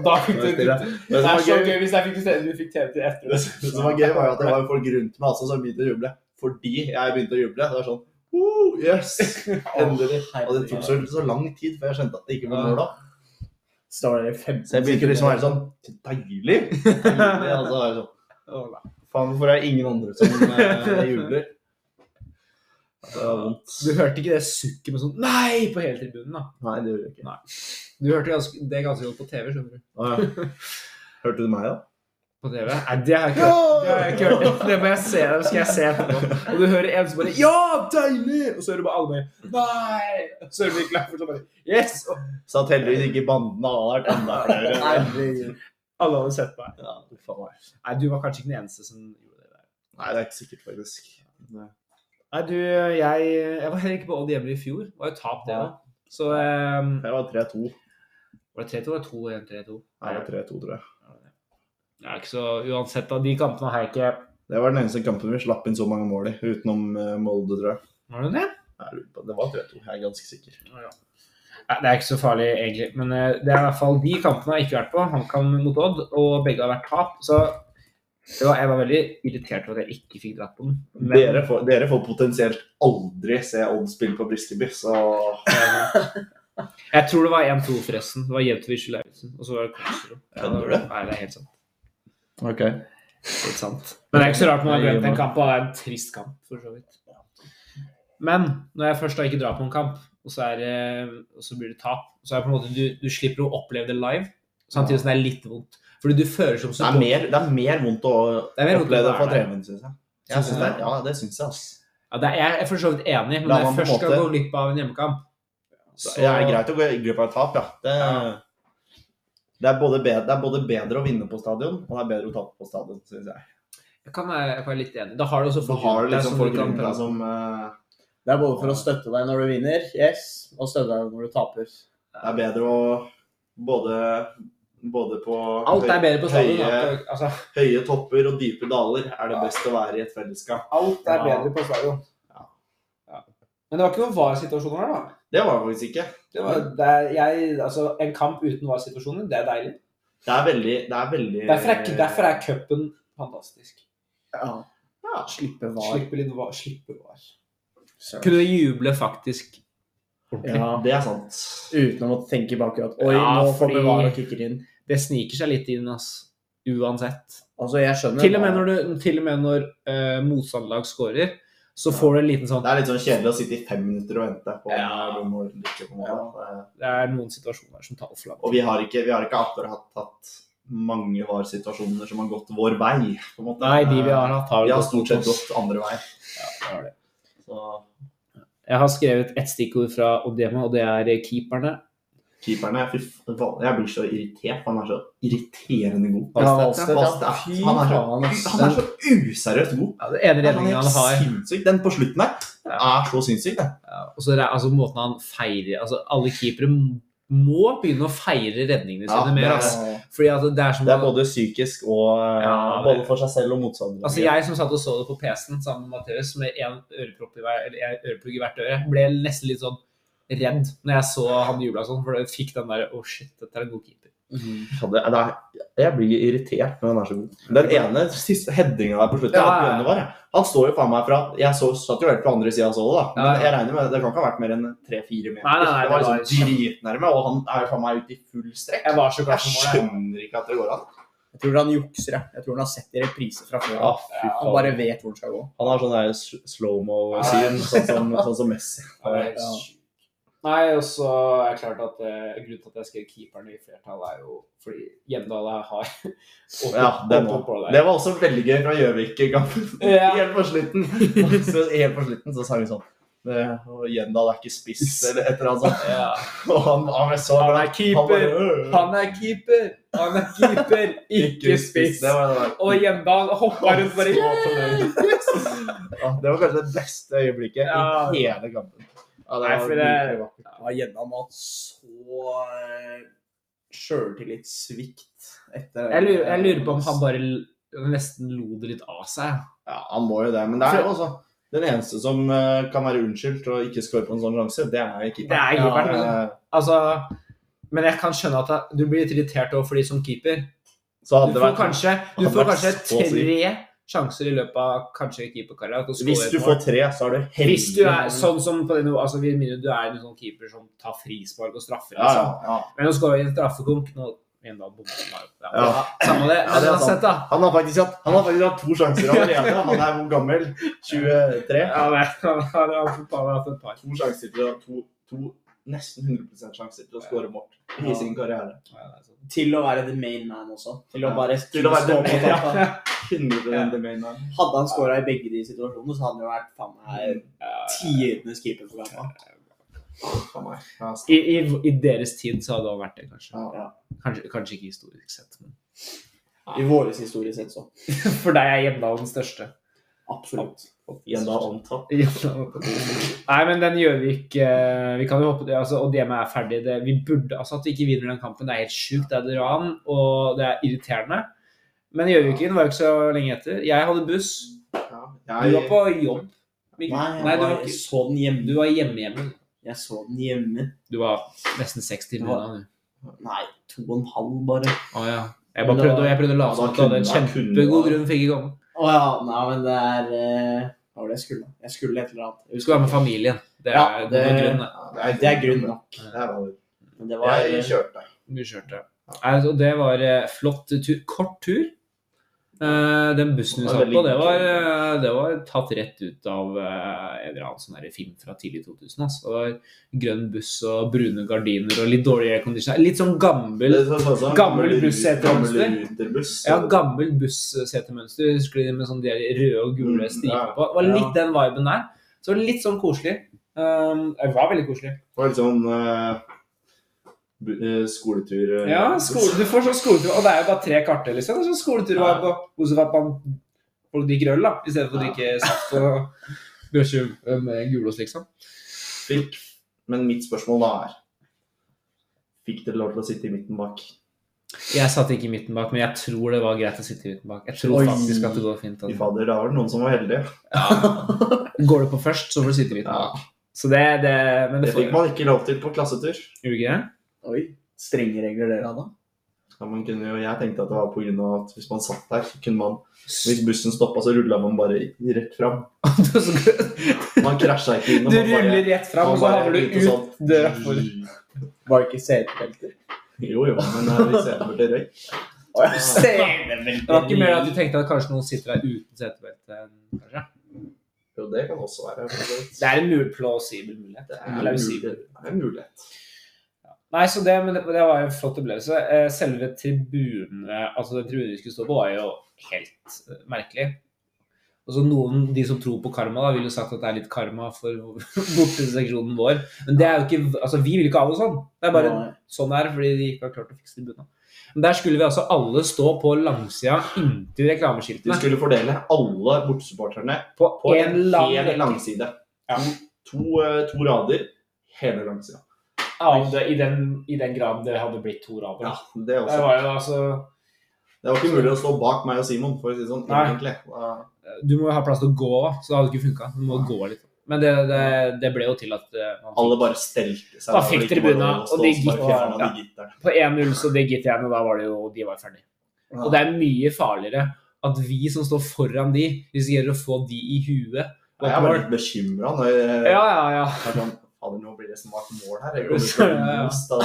Speaker 4: Da fikk
Speaker 2: Men
Speaker 4: du
Speaker 2: det
Speaker 4: Det
Speaker 2: som
Speaker 4: er
Speaker 2: var
Speaker 4: så
Speaker 2: gøy,
Speaker 4: gøy hvis jeg fikk TV, du fikk TV til etter
Speaker 2: det som var gøy, var jo at det var jo folk rundt meg også som begynte å juble. Fordi jeg begynte å juble. Det var sånn «Oh, Yes! Endelig. Og det tok så, så lang tid før jeg skjønte at det ikke var mål, da.
Speaker 1: Står der i 15
Speaker 2: Så jeg begynte liksom å
Speaker 1: sekunder.
Speaker 2: være sånn Deilig! Deilig. Og så er det sånn Faen, hvorfor er det ingen andre som eh, jubler? Det var vondt.
Speaker 3: Du hørte ikke det sukket med sånn Nei! på hele tribunen. da.
Speaker 2: Nei, det gjorde jeg ikke.
Speaker 3: Du hørte ganske, det ganske godt på TV, skjønner du.
Speaker 2: Å, ja. Hørte du meg, da?
Speaker 3: På TV? Nei, det har jeg ikke hørt. Det har jeg ikke hørt. Det må jeg se. Det skal jeg se etterpå. Og du hører en som bare Ja, deilig! Og så hører du bare alle bare Nei! Så hører du Nikolai fortsatt bare Yes! Og
Speaker 2: Satt heldigvis ikke i bandene og hadde vært enda flere.
Speaker 1: Herregud.
Speaker 3: alle hadde sett meg.
Speaker 2: Ja, faen meg.
Speaker 3: Nei, du var kanskje ikke den eneste som gjorde det der.
Speaker 2: Nei, det er ikke sikkert, faktisk.
Speaker 3: Nei, du, jeg, jeg var heller ikke på Odd hjemme i fjor. Det var jo tap, det òg. Så eh,
Speaker 2: Det var 3-2.
Speaker 3: var det 3-2 eller 2-1-3-2?
Speaker 2: Nei, det var 3-2, tror jeg.
Speaker 3: Det er ikke så Uansett, da. De kampene har jeg ikke
Speaker 2: Det var den eneste kampen vi slapp inn så mange mål i, utenom eh, Molde, tror jeg.
Speaker 3: Var det det?
Speaker 2: Jeg lurer på- Det var 3-2, jeg er ganske sikker.
Speaker 3: Nei, det er ikke så farlig, egentlig. Men eh, det er i hvert fall de kampene har jeg ikke vært på. HamKam mot Odd, og begge har vært tap. Så det var, jeg var veldig irritert over at jeg ikke fikk dratt på den. Men-
Speaker 2: Dere, får, dere får potensielt aldri se Odd spille på Briskeby, så
Speaker 3: Jeg tror det var 1-2 forresten. Det var Jevtovic og Lauritzen. Og så var det Kongsrud.
Speaker 2: Kødder du?
Speaker 3: Nei, det er helt sant.
Speaker 2: Ok.
Speaker 3: Helt sant. Men det er ikke så rart man har glemt en kamp, og det er en trist kamp, for så vidt. Men når jeg først da ikke drar på en kamp, og så, er, det- og så blir det tap, så er det på en måte du, du slipper å oppleve det live, samtidig som det er litt vondt. Fordi du føler som
Speaker 2: Det er mer, det er mer vondt å
Speaker 3: Det er mer vondt å
Speaker 2: oppleve det fra
Speaker 3: være der.
Speaker 2: Dreven, syns jeg.
Speaker 3: Synes
Speaker 2: jeg synes
Speaker 3: du
Speaker 2: det,
Speaker 3: det?
Speaker 2: ja, det syns jeg, ass.
Speaker 3: Ja, det er, jeg er for så vidt enig, men
Speaker 2: La
Speaker 3: når jeg
Speaker 2: man på
Speaker 3: først skal
Speaker 2: måte-
Speaker 3: gå glipp av en hjemmekamp så,
Speaker 2: Så... Det er greit å gå glipp av et tap, ja. Det,
Speaker 3: Ja.
Speaker 2: Det, er både bedre, det er både bedre å vinne på stadion, og det er bedre å tape på stadion, syns jeg.
Speaker 3: Jeg kan være, jeg kan være litt enig. Da har du også
Speaker 2: Så har du
Speaker 3: rundt deg
Speaker 2: liksom
Speaker 3: som
Speaker 2: folk
Speaker 3: kan
Speaker 2: rundt deg
Speaker 3: prate om.
Speaker 2: som eh,
Speaker 1: Det er både for å støtte deg når du vinner, yes, og støtte deg når du taper.
Speaker 2: Det er bedre å både Både på
Speaker 3: Alt er bedre på stadion.
Speaker 2: høye,
Speaker 3: da.
Speaker 4: Altså,
Speaker 2: høye topper og dype daler er det best å være i et fellesskap.
Speaker 4: alt er
Speaker 2: Ja.
Speaker 4: bedre på stadion.
Speaker 2: Ja.
Speaker 4: Ja. Men det var ikke noen VAR-situasjoner her, da.
Speaker 2: Det var det faktisk ikke.
Speaker 4: Det var, det er, jeg, altså, en kamp uten VAR-situasjoner, det er deilig.
Speaker 2: Det er veldig, det er veldig
Speaker 4: Derfor er, derfor er cupen fantastisk.
Speaker 1: Ja. Slippe var.
Speaker 4: Slippe litt VAR. Slippe VAR.
Speaker 1: Søren.
Speaker 3: Kunne juble faktisk
Speaker 1: Ja.
Speaker 2: Det er sant.
Speaker 1: Uten å måtte tenke bak at oi,
Speaker 3: Ja,
Speaker 1: nå
Speaker 3: fordi-
Speaker 1: kommer VAR og kicker inn.
Speaker 3: Det sniker seg litt inn, ass. Uansett.
Speaker 1: Altså, jeg skjønner
Speaker 3: Til
Speaker 1: hva-
Speaker 3: og med når, du, til og med når eh, motstanderlag scorer, så får du en liten sånn
Speaker 2: Det er litt sånn kjedelig å sitte i fem minutter og vente på om
Speaker 3: Ja.
Speaker 2: det er mål eller ikke. på mål. Eh,
Speaker 3: Det er noen situasjoner som tar overflaten.
Speaker 2: Og vi har ikke, vi har ikke akkurat hatt mange VAR-situasjoner som har gått vår vei. på en måte.
Speaker 3: Nei, de vi har hatt, har
Speaker 2: Vi
Speaker 3: jo
Speaker 2: har
Speaker 3: gått
Speaker 2: stort
Speaker 3: mot
Speaker 2: sett
Speaker 3: oss.
Speaker 2: gått andre vei.
Speaker 3: Ja, det har det.
Speaker 2: Så
Speaker 3: Jeg har skrevet ett stikkord fra Odema, og det er keeperne.
Speaker 2: keeperne Fy faen, jeg blir så irritert. Han er så irriterende god.
Speaker 1: Ja, Valstedt,
Speaker 3: Valstedt,
Speaker 1: ja.
Speaker 2: Valstedt,
Speaker 1: Fy
Speaker 2: han er så-
Speaker 1: faen, ass.
Speaker 2: Han er så useriøst god.
Speaker 3: Ja, det ene
Speaker 2: Han er
Speaker 3: redningen han
Speaker 2: helt
Speaker 3: har.
Speaker 2: sinnssyk. Den på slutten der er så sinnssyk. det.
Speaker 3: Ja, og så er det- altså, måten han feirer altså, Alle keepere må begynne å feire redningene
Speaker 2: Ja,
Speaker 3: sine mer.
Speaker 2: det er-
Speaker 3: Altså. Fordi altså, det er som
Speaker 2: Det er både psykisk og eh,
Speaker 3: Ja,
Speaker 2: Både
Speaker 3: det-
Speaker 2: for seg selv og motstanderen.
Speaker 3: Altså Jeg som satt og så det på PC-en sammen med Matheus med én ørepropp i hver- eller en øreplugg i hvert øre, ble nesten litt sånn redd når jeg så han jubla sånn, for jeg fikk den derre Å, shit, dette er en god keeper.
Speaker 1: Mhm.
Speaker 2: Hadde- det er, jeg blir irritert når han er så god. Den ene siste headinga der på slutten
Speaker 3: Ja,
Speaker 2: er
Speaker 3: ja, ja.
Speaker 2: Grønne var, jeg. Han står jo faen meg fra Jeg så, satt jo helt på andre sida av sålet, da. Men
Speaker 3: Ja, ja.
Speaker 2: jeg regner med det kan ikke ha vært mer enn tre-fire meter.
Speaker 3: Nei, nei, nei,
Speaker 2: det var
Speaker 3: det var
Speaker 2: liksom dritnærme, og han er jo faen meg ute i full strekk.
Speaker 3: Jeg var så glad
Speaker 2: Jeg
Speaker 3: for målet.
Speaker 2: skjønner ikke at det går an.
Speaker 1: Jeg tror han jukser, jeg. Jeg tror han har sett i repriser fra før.
Speaker 2: Ja, fy
Speaker 1: Han
Speaker 2: faen.
Speaker 1: bare vet hvor han skal gå.
Speaker 2: Han har sånn der s- slow-mo-syn, sånn, som- sånn som Messi.
Speaker 1: Ja.
Speaker 4: Nei, og så er det klart at eh, grunnen til at jeg skrev keeperne i flertall, er jo fordi Hjemdal er hard. Og-
Speaker 2: Ja, den
Speaker 4: og-
Speaker 2: var-
Speaker 4: og- og-
Speaker 2: Det var også veldig gøy fra Gjøvik-kampen.
Speaker 4: Ja.
Speaker 2: Helt på slutten. Så, helt på slutten så sa vi sånn det, og Gjendal er ikke spiss, eller et eller annet sånt.
Speaker 4: Ja.
Speaker 2: Og han, han er så
Speaker 4: Han er
Speaker 2: Han
Speaker 4: keeper!
Speaker 2: bare, øh,
Speaker 4: Han er keeper! Han er keeper, ikke spiss!
Speaker 2: Det var, det, der.
Speaker 4: Og Hjemdal hoppa rundt bare
Speaker 2: Ja, det var kanskje det beste øyeblikket
Speaker 4: Ja.
Speaker 2: i hele kampen. Ja,
Speaker 3: Nei, for det-
Speaker 2: virkelig vakkert.
Speaker 1: Ja, Gjedda må ha hatt så eh, sjøltillitssvikt etter
Speaker 3: Jeg lurer, jeg lurer på om han bare l- nesten lo det litt av seg.
Speaker 2: ja, han må jo det. Men det er jo også den eneste som eh, kan være unnskyldt og ikke score på en sånn sjanse, det er
Speaker 3: Det
Speaker 2: keeperen.
Speaker 3: er keeperen. men-
Speaker 2: Eh,
Speaker 3: Altså, men jeg kan skjønne at jeg- du blir litt irritert over fordi som keeper
Speaker 2: Så
Speaker 3: Du
Speaker 2: hadde det
Speaker 3: får
Speaker 2: vært
Speaker 3: kanskje,
Speaker 2: hadde
Speaker 3: du får
Speaker 2: vært
Speaker 3: kanskje
Speaker 2: så å si.
Speaker 3: tre sjanser i løpet av kanskje keeperkarrieren. til å score
Speaker 2: Hvis
Speaker 3: et
Speaker 2: du
Speaker 3: mål.
Speaker 2: får tre, så er du heldig.
Speaker 3: Hvis du er sånn som på det nivået, altså vi minner, du er en sånn keeper som tar frispark og straffer.
Speaker 2: ja, ja,
Speaker 3: Liksom.
Speaker 2: ja.
Speaker 3: Men å skåre i en straffekonk nå igjen da, bommer den her. ja.
Speaker 2: Ja.
Speaker 3: Samme det.
Speaker 2: Ja, det er sant.
Speaker 3: uansett, da.
Speaker 2: Han, har faktisk hatt, han har faktisk hatt to sjanser allerede. Han er hvor gammel? 23?
Speaker 3: Ja, det er- han har han har faen meg hatt et par.
Speaker 2: To sjanser til å to, to nesten 100 sjanser til å skåre mål i sin karriere.
Speaker 3: sånn,
Speaker 1: Til å være the main man også. Til å
Speaker 2: Ja.
Speaker 1: bare
Speaker 2: Til å være the
Speaker 1: stå på
Speaker 2: main, ja.
Speaker 1: toppen.
Speaker 2: 100 the main man.
Speaker 1: Hadde han skåra i begge de situasjonene, så hadde han jo vært faen meg tidenes keeper for Gamma.
Speaker 2: For meg. Ja, altså.
Speaker 3: I, i, I deres tid så hadde han vært det, kanskje.
Speaker 2: Ja.
Speaker 3: Kanskje, kanskje ikke historisk sett. Men.
Speaker 1: I vår historie sett så.
Speaker 3: For deg er Hjemdal den største.
Speaker 1: Absolutt.
Speaker 2: Gjendal on top.
Speaker 3: Nei, men den Gjøvik eh, Vi kan jo håpe det, altså, og Dema er ferdig. Det, vi burde altså at vi ikke vinner den kampen. Det er helt sjukt. Det er et ran, og det er irriterende. Men Gjøviken var jo ikke så lenge etter. Jeg hadde buss. Du var på jobb. Mikkel.
Speaker 1: Nei, jeg
Speaker 3: Nei, du
Speaker 1: var,
Speaker 3: var ikke
Speaker 1: så den hjemme.
Speaker 3: Du var hjemme-hjemme.
Speaker 1: Jeg så den hjemme.
Speaker 3: Du var nesten seks timer unna, du.
Speaker 1: Nei, to og en halv, bare.
Speaker 3: Å ja. Jeg
Speaker 1: Men
Speaker 3: bare
Speaker 1: da-
Speaker 3: prøvde, og jeg prøvde å late
Speaker 2: da
Speaker 3: som at du hadde
Speaker 2: kunne-
Speaker 3: en
Speaker 2: da kunne-
Speaker 3: kjempegod grunn for ikke å komme.
Speaker 1: Å ja. Nei, men det er eh, Hva var det jeg skulle? Jeg skulle et eller annet.
Speaker 3: Du skulle være med familien. Det er
Speaker 1: Ja,
Speaker 3: det...
Speaker 1: det-
Speaker 3: grunn, det.
Speaker 1: Det er grunn nok.
Speaker 2: Det er valid.
Speaker 1: Men det var
Speaker 2: Jeg kjørte.
Speaker 3: Vi kjørte. Altså, det var eh, flott tur. Kort tur. Eh, den bussen vi
Speaker 2: Det var
Speaker 3: satt
Speaker 2: veldig
Speaker 3: på, det var,
Speaker 2: kort.
Speaker 3: eh, det var tatt rett ut av eh, en eller annen sånn her film fra tidlig 2000. Altså. Det var grønn buss og brune gardiner og litt dårlig aircondition. Litt sånn gammel,
Speaker 2: Det er sånn- sånn-
Speaker 3: Gammel
Speaker 2: gammel
Speaker 3: buss heter
Speaker 2: gammel
Speaker 3: Amster.
Speaker 2: ruterbuss.
Speaker 3: ja, gammel bussetemønster. Husker du det med sånn de røde og
Speaker 2: Mm,
Speaker 3: gule
Speaker 2: ja.
Speaker 3: striper på? Det var litt den viben der. Så litt sånn koselig. Um, det var veldig koselig.
Speaker 2: Det var litt sånn eh, bu- eh, skoletur. eh,
Speaker 3: Ja, skole, du får sånn skoletur, og det er jo bare tre karter, liksom. Sånn skoletur var på Bortsett fra at man folk drikker øl, da, i stedet for å drikke saft og brødskive med gulost, liksom.
Speaker 2: Fikk, men mitt spørsmål da er Fikk dere lov til å sitte i midten bak?
Speaker 5: Jeg satt ikke i midten bak, men jeg tror det var greit å sitte i midten bak. Jeg tror
Speaker 1: Oi.
Speaker 5: faktisk at det går fint.
Speaker 2: Fy
Speaker 3: altså.
Speaker 5: At...
Speaker 2: fader, da var det noen som var heldige.
Speaker 5: Går du på først, så får du sitte i midten
Speaker 3: Ja.
Speaker 5: bak. Så det, det Men det
Speaker 2: Det
Speaker 5: får
Speaker 2: fikk man ikke lov til på klassetur.
Speaker 5: Gjorde ikke det?
Speaker 1: eh, Oi, strenge regler dere hadde?
Speaker 2: Ja, man kunne jo, jeg tenkte at det var på grunn av at hvis man satt der, så kunne man Hvis bussen stoppa, så rulla man bare i- rett fram. Man krasja ikke inn. og
Speaker 5: Du
Speaker 2: man bare-
Speaker 5: ruller rett fram,
Speaker 2: man
Speaker 5: og så
Speaker 2: bare
Speaker 5: havner du
Speaker 2: begynte
Speaker 5: ut
Speaker 2: sånn.
Speaker 5: døra. for-
Speaker 1: Var det ikke setebelter?
Speaker 2: Jo, jo, men eh, vi ser over til røyk.
Speaker 1: Å, ja,
Speaker 5: Det var ikke mer at
Speaker 3: Mm.
Speaker 5: du tenkte at kanskje noen sitter der uten setebelte? enn- kanskje?
Speaker 2: Jo, det kan også være. men Det
Speaker 3: Det er en mul plausibel mulighet.
Speaker 2: det
Speaker 3: Mm.
Speaker 2: er, mulig, det er en mulighet.
Speaker 3: Nei, så det, men det, det var jo en flott opplevelse. Eh, Selve tribunen, eh, altså den tribunen vi skulle stå på, var jo helt eh, merkelig. Og så noen, De som tror på karma, da, vil jo sagt at det er litt karma for borteseksjonen vår. Men det er jo ikke, altså vi vil ikke ha det sånn. Det er bare
Speaker 1: Nei.
Speaker 3: sånn er det, fordi de ikke har klart å fikse tribunen. Men der skulle vi altså alle stå på langsida inntil
Speaker 2: De
Speaker 3: reklameskiltene.
Speaker 2: skulle fordele alle bortesupporterne
Speaker 3: På
Speaker 2: på
Speaker 3: en lang
Speaker 2: hel
Speaker 3: rekke
Speaker 2: langside. To, to, eh, to rader hele langsida.
Speaker 3: av det, i den, i den grad det hadde blitt to rader.
Speaker 2: Ja, det,
Speaker 3: Det
Speaker 2: også.
Speaker 3: var jo altså
Speaker 2: det var ikke mulig å stå bak meg og Simon, for å si det sånn.
Speaker 3: Nei.
Speaker 2: egentlig. Da-
Speaker 3: Du må jo ha plass til å gå, så det hadde ikke funka. Du må gå litt. Men det, det, det ble jo til at eh, man
Speaker 2: Alle bare stelte seg.
Speaker 3: Da
Speaker 2: der,
Speaker 3: fikk
Speaker 2: og ikke
Speaker 3: tribunen,
Speaker 2: bare lå
Speaker 3: og
Speaker 2: stå,
Speaker 3: de
Speaker 2: så bare
Speaker 3: gikk-
Speaker 2: fjernet
Speaker 3: ja.
Speaker 2: de gitterne.
Speaker 3: På 1-0 så digget jeg, og da var det jo De var ferdige. Og det er mye farligere at vi som står foran de, risikerer å få de i huet.
Speaker 2: Og Jeg var litt bekymra når jeg
Speaker 3: Ja, ja, ja.
Speaker 2: var sånn, Fader, nå blir det smart mål her. Jeg kommer til å bli
Speaker 3: Ja, ja.
Speaker 2: most av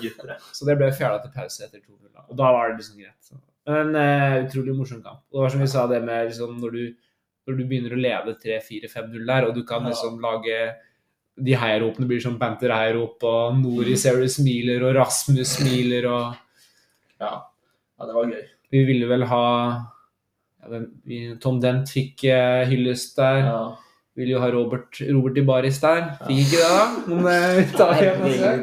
Speaker 2: guttere.
Speaker 3: Så det ble fjerna til pause etter 2-0. da. Og da var det liksom greit. Så. Men eh, utrolig morsom kamp. Og det var som vi sa det med liksom, når, du, når du begynner å lede 3-4-5-0 der, og du kan liksom lage De heiaropene blir som banter-heiarop, og Nori Seri smiler, og Rasmus smiler, og
Speaker 2: Ja, det var gøy.
Speaker 3: Vi ville vel ha ja, den, vi, Tom Dent fikk eh, hyllest der.
Speaker 2: Ja.
Speaker 3: Ville jo ha Robert, Robert i baris der. Fikk ikke det, da. Men eh, vi tar igjen også.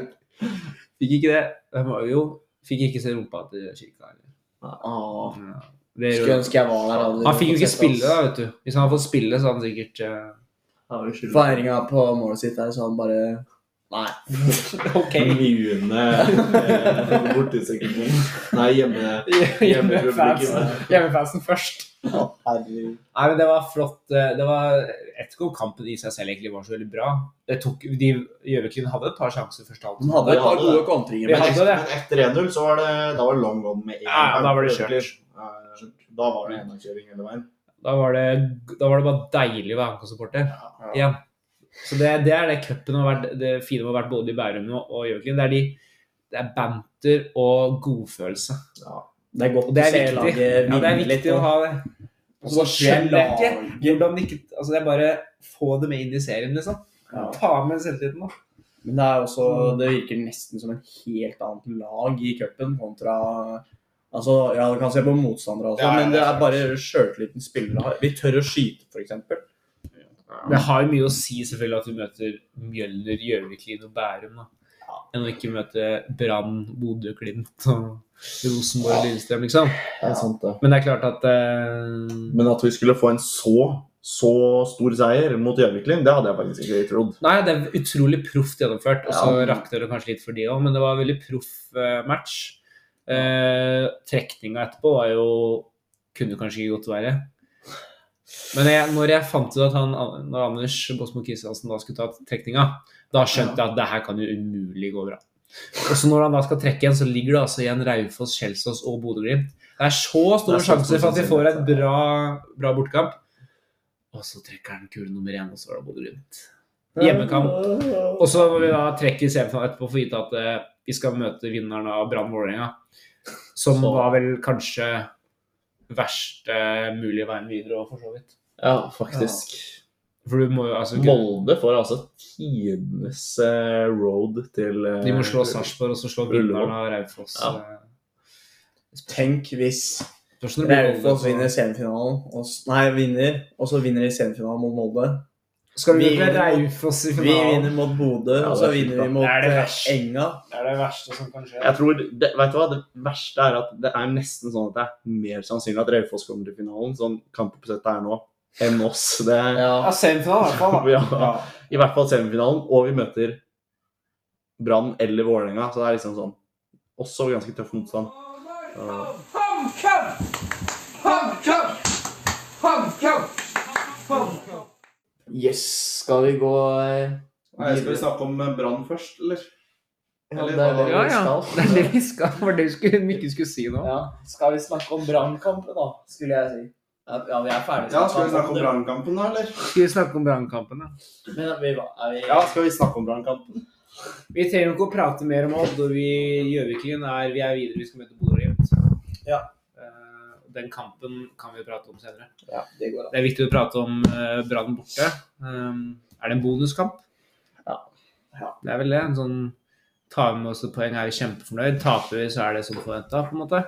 Speaker 3: Fikk ikke det. Hvem var det jo? Fikk ikke se rumpa til kirka. Eller.
Speaker 1: Åh,
Speaker 3: Ja, det gjør
Speaker 1: Skulle
Speaker 3: jo-
Speaker 1: ønske jeg var der. hadde
Speaker 3: han fikk jo
Speaker 1: fått
Speaker 3: ikke
Speaker 1: sett
Speaker 3: spille,
Speaker 1: oss.
Speaker 3: da, vet du. Hvis han hadde fått spille, så hadde han sikkert eh,
Speaker 2: Ja, vi skylder
Speaker 1: Feiringa på målet sitt der, så han bare Nei.
Speaker 2: Mjune eh, borteseksjon. Nei, hjemme, hjemmepublikum.
Speaker 3: Hjemmefansen først.
Speaker 1: Herregud.
Speaker 3: Nei, men Det var flott. eh, Det var, jeg vet ikke om kampen i seg selv egentlig var så veldig bra. Det tok, de Gjøviklyn hadde et par sjanser først.
Speaker 1: De
Speaker 3: Alt.
Speaker 1: hadde et par
Speaker 2: Ja,
Speaker 1: gode kontringer.
Speaker 3: Vi
Speaker 2: Men
Speaker 1: men-
Speaker 3: hadde
Speaker 2: etter,
Speaker 3: det.
Speaker 2: men etter 1-0 så var det da var det long on med en
Speaker 3: Ja, ja, da var det
Speaker 2: gang.
Speaker 3: kjørt.
Speaker 2: Ja, Da var det gjennomkjøring hele veien.
Speaker 3: Da, var det, da var det bare deilig å være HamKam-supporter. Ja. Så det, det er det cupen har vært, det fine med å ha vært både i Bærum og og Gjøviklyn. Det er de det er banter og godfølelse.
Speaker 1: Det er godt
Speaker 3: Og det er
Speaker 1: å se
Speaker 3: viktig.
Speaker 1: laget
Speaker 3: Ja, det er
Speaker 1: vinne litt,
Speaker 3: viktig å
Speaker 1: og-
Speaker 3: ha det.
Speaker 1: Og så skjer
Speaker 3: skjønner jeg
Speaker 1: laget.
Speaker 3: ikke hvordan de ikke Altså, det er bare få det med inn i serien, liksom.
Speaker 1: Ja.
Speaker 3: Ta med selvtilliten, da.
Speaker 1: Men det er også
Speaker 3: Mm.
Speaker 1: Det virker nesten som en helt annet lag i cupen kontra Altså, ja, du kan se på motstandere, altså,
Speaker 2: Ja, ja,
Speaker 1: men
Speaker 2: det
Speaker 1: det
Speaker 2: er
Speaker 1: er bare sjøltilliten spillere har. Vi tør å skyte, f.eks.
Speaker 3: Det har jo mye å si selvfølgelig at du møter Mjølner, Gjøviklin og Bærum, da. Enn å ikke møte Brann, Bodø, Klint og Rosenborg og Lillestrøm, liksom.
Speaker 2: Det er sant, det.
Speaker 3: Men det er klart at eh,
Speaker 2: Men at vi skulle få en så, så stor seier mot Gjøviklyn, det hadde jeg faktisk ikke trodd.
Speaker 3: Nei, det er utrolig proft gjennomført. Og så
Speaker 2: Ja.
Speaker 3: rakte det kanskje litt for de òg, men det var en veldig proff eh, match. Eh, trekninga etterpå var jo Kunne kanskje ikke godt være. Men jeg, når jeg fant ut at han, når Anders Båsmo Kristiansen da skulle ta trekninga, da skjønte jeg at det her kan jo umulig gå bra. Og så når han da skal trekke igjen, så ligger det altså igjen Raufoss, Kjelsås og Bodø-Glimt. Det er så
Speaker 2: Det er
Speaker 3: store
Speaker 2: så stor
Speaker 3: sjanser for at de får en
Speaker 2: sannsynlighet.
Speaker 3: bra, bra bortekamp. Og så trekker han kule nummer én, og så var det Bodø-Glimt. Hjemmekamp. Og så må vi da trekke i semifinalen etterpå for gitt at eh, vi skal møte vinneren av Brann Vålerenga. Som
Speaker 2: Så.
Speaker 3: var vel kanskje verste mulige veien videre òg, for så vidt.
Speaker 2: Ja,
Speaker 1: faktisk.
Speaker 3: For du må jo altså
Speaker 2: Molde får altså tidenes eh, road til eh,
Speaker 3: De må slå Sarpsborg, og så slå
Speaker 2: Ullevål.
Speaker 3: vinneren av Raufoss.
Speaker 2: Ja.
Speaker 3: eh,
Speaker 1: Tenk hvis
Speaker 3: spørs når det blir
Speaker 1: Raufoss
Speaker 3: Molde,
Speaker 1: vinner semifinalen, og, s- nei, vinner, og så vinner de semifinalen mot Molde.
Speaker 3: så- Skal vi
Speaker 1: vi
Speaker 3: vinne
Speaker 1: vinner mot-
Speaker 3: Raufoss i
Speaker 1: Vi
Speaker 3: finalen?
Speaker 1: vinner mot Bodø,
Speaker 2: Ja,
Speaker 1: og så
Speaker 2: det er fint,
Speaker 1: vinner vi
Speaker 2: da.
Speaker 1: mot
Speaker 3: Det er det
Speaker 1: eh,
Speaker 3: verste.
Speaker 1: Enga.
Speaker 3: Det er det verste som kan skje.
Speaker 2: Jeg tror, det, vet du hva, det verste er at det er nesten sånn at det er mer sannsynlig at Raufoss kommer til finalen, sånn kampoppsettet er nå, enn oss. Det,
Speaker 3: Ja, semifinalen i hvert fall. da.
Speaker 2: ja. I hvert fall semifinalen, og vi møter Brann eller Vålerenga, så det er liksom sånn også ganske tøff motstand.
Speaker 1: Yes, skal vi gå eh,
Speaker 2: Nei, skal vi snakke om eh, Brann først, eller?
Speaker 1: Ja,
Speaker 2: Eller
Speaker 1: det er det
Speaker 2: hva-
Speaker 1: vi
Speaker 3: Ja, ja. Det er
Speaker 1: skal.
Speaker 3: det vi skal, for det skulle Mikke skulle si nå.
Speaker 1: Ja, skal vi snakke om brannkampen, da, skulle jeg si. Ja, ja, vi er ferdige.
Speaker 2: Ja, skal vi snakke om Brannkampen da, eller?
Speaker 3: Skal vi snakke om brannkampen, da?
Speaker 1: Men er vi, er vi,
Speaker 2: Ja, skal vi snakke om Brannkampen?
Speaker 3: Vi trenger jo ikke å prate mer om Odd, og vi Gjøviklyn er Vi er videre, vi skal møte Bodø og Glimt.
Speaker 1: Ja.
Speaker 3: Eh, Den kampen kan vi prate om senere.
Speaker 1: ja, det går an.
Speaker 3: Det er viktig å prate om eh, Brann borte. Um, er det en bonuskamp?
Speaker 1: Ja. Ja.
Speaker 3: Det er vel det. En sånn Tar vi med oss et poeng, er vi kjempefornøyd. Taper vi, så er det som forventa, på en måte.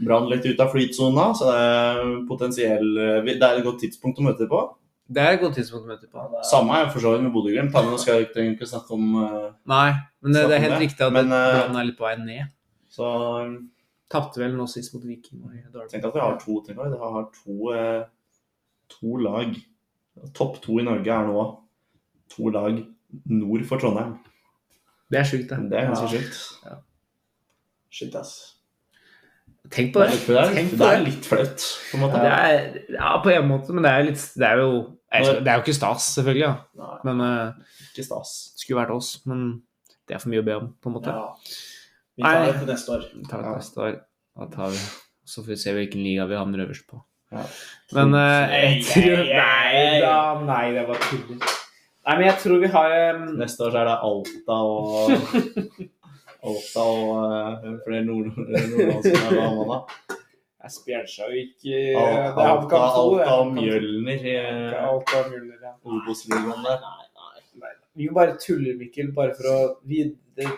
Speaker 2: Brann litt ut av flytsona, så det er potensiell eh, Det er et godt tidspunkt å møte på.
Speaker 3: Det er et godt tidspunkt å møte på.
Speaker 2: Samme er jo for så vidt med Bodø-Glimt. Han skal jeg ikke egentlig snakke om eh,
Speaker 3: Nei, men det, det er
Speaker 2: Snakke om
Speaker 3: helt
Speaker 2: det.
Speaker 3: riktig at
Speaker 2: Men, eh,
Speaker 3: Brann er litt på vei ned.
Speaker 2: Så
Speaker 3: Tapte vel nå sist mot Viking. og Darby.
Speaker 2: tenk at vi har to tenk at vi har to, eh, to lag. Topp to i Norge er nå to lag nord for Trondheim.
Speaker 3: Det er sjukt, det.
Speaker 2: Det er ganske sjukt.
Speaker 1: Shit, ass.
Speaker 3: Tenk
Speaker 2: Det
Speaker 3: på
Speaker 2: er
Speaker 3: det.
Speaker 2: litt- det er
Speaker 3: Tenk
Speaker 2: litt-
Speaker 3: på
Speaker 2: det er
Speaker 3: det.
Speaker 2: litt flaut, på en måte.
Speaker 3: Det er, ja, på en måte, men det er jo litt Det er jo, jeg
Speaker 2: Når-
Speaker 3: skal- det er jo ikke stas, selvfølgelig, da.
Speaker 1: Nei.
Speaker 3: Men eh,
Speaker 2: Ikke stas.
Speaker 3: det skulle vært oss. Men det er for mye å be om, på en måte.
Speaker 1: Ja. Vi tar
Speaker 3: Nei.
Speaker 1: det til neste år.
Speaker 3: Vi tar det
Speaker 2: Ja.
Speaker 3: neste år. Da tar vi. Så får vi se hvilken liga vi havner øverst på.
Speaker 2: Ja.
Speaker 3: Men eh, jeg tror
Speaker 1: Nei, nei, nei.
Speaker 3: nei, det var tull. Nei, men jeg tror vi har em,
Speaker 2: Neste år så er det Alta og Alta og eh, flere nord- nordlandske lag og Amanda.
Speaker 3: Jeg spjæsja jo ikke
Speaker 2: Alta, Alta, Alta og Mjølner i eh,
Speaker 3: Alta og Mjølner, ja.
Speaker 2: Obos-ligaen der.
Speaker 3: Vi bare tuller, Mikkel, bare for å videre...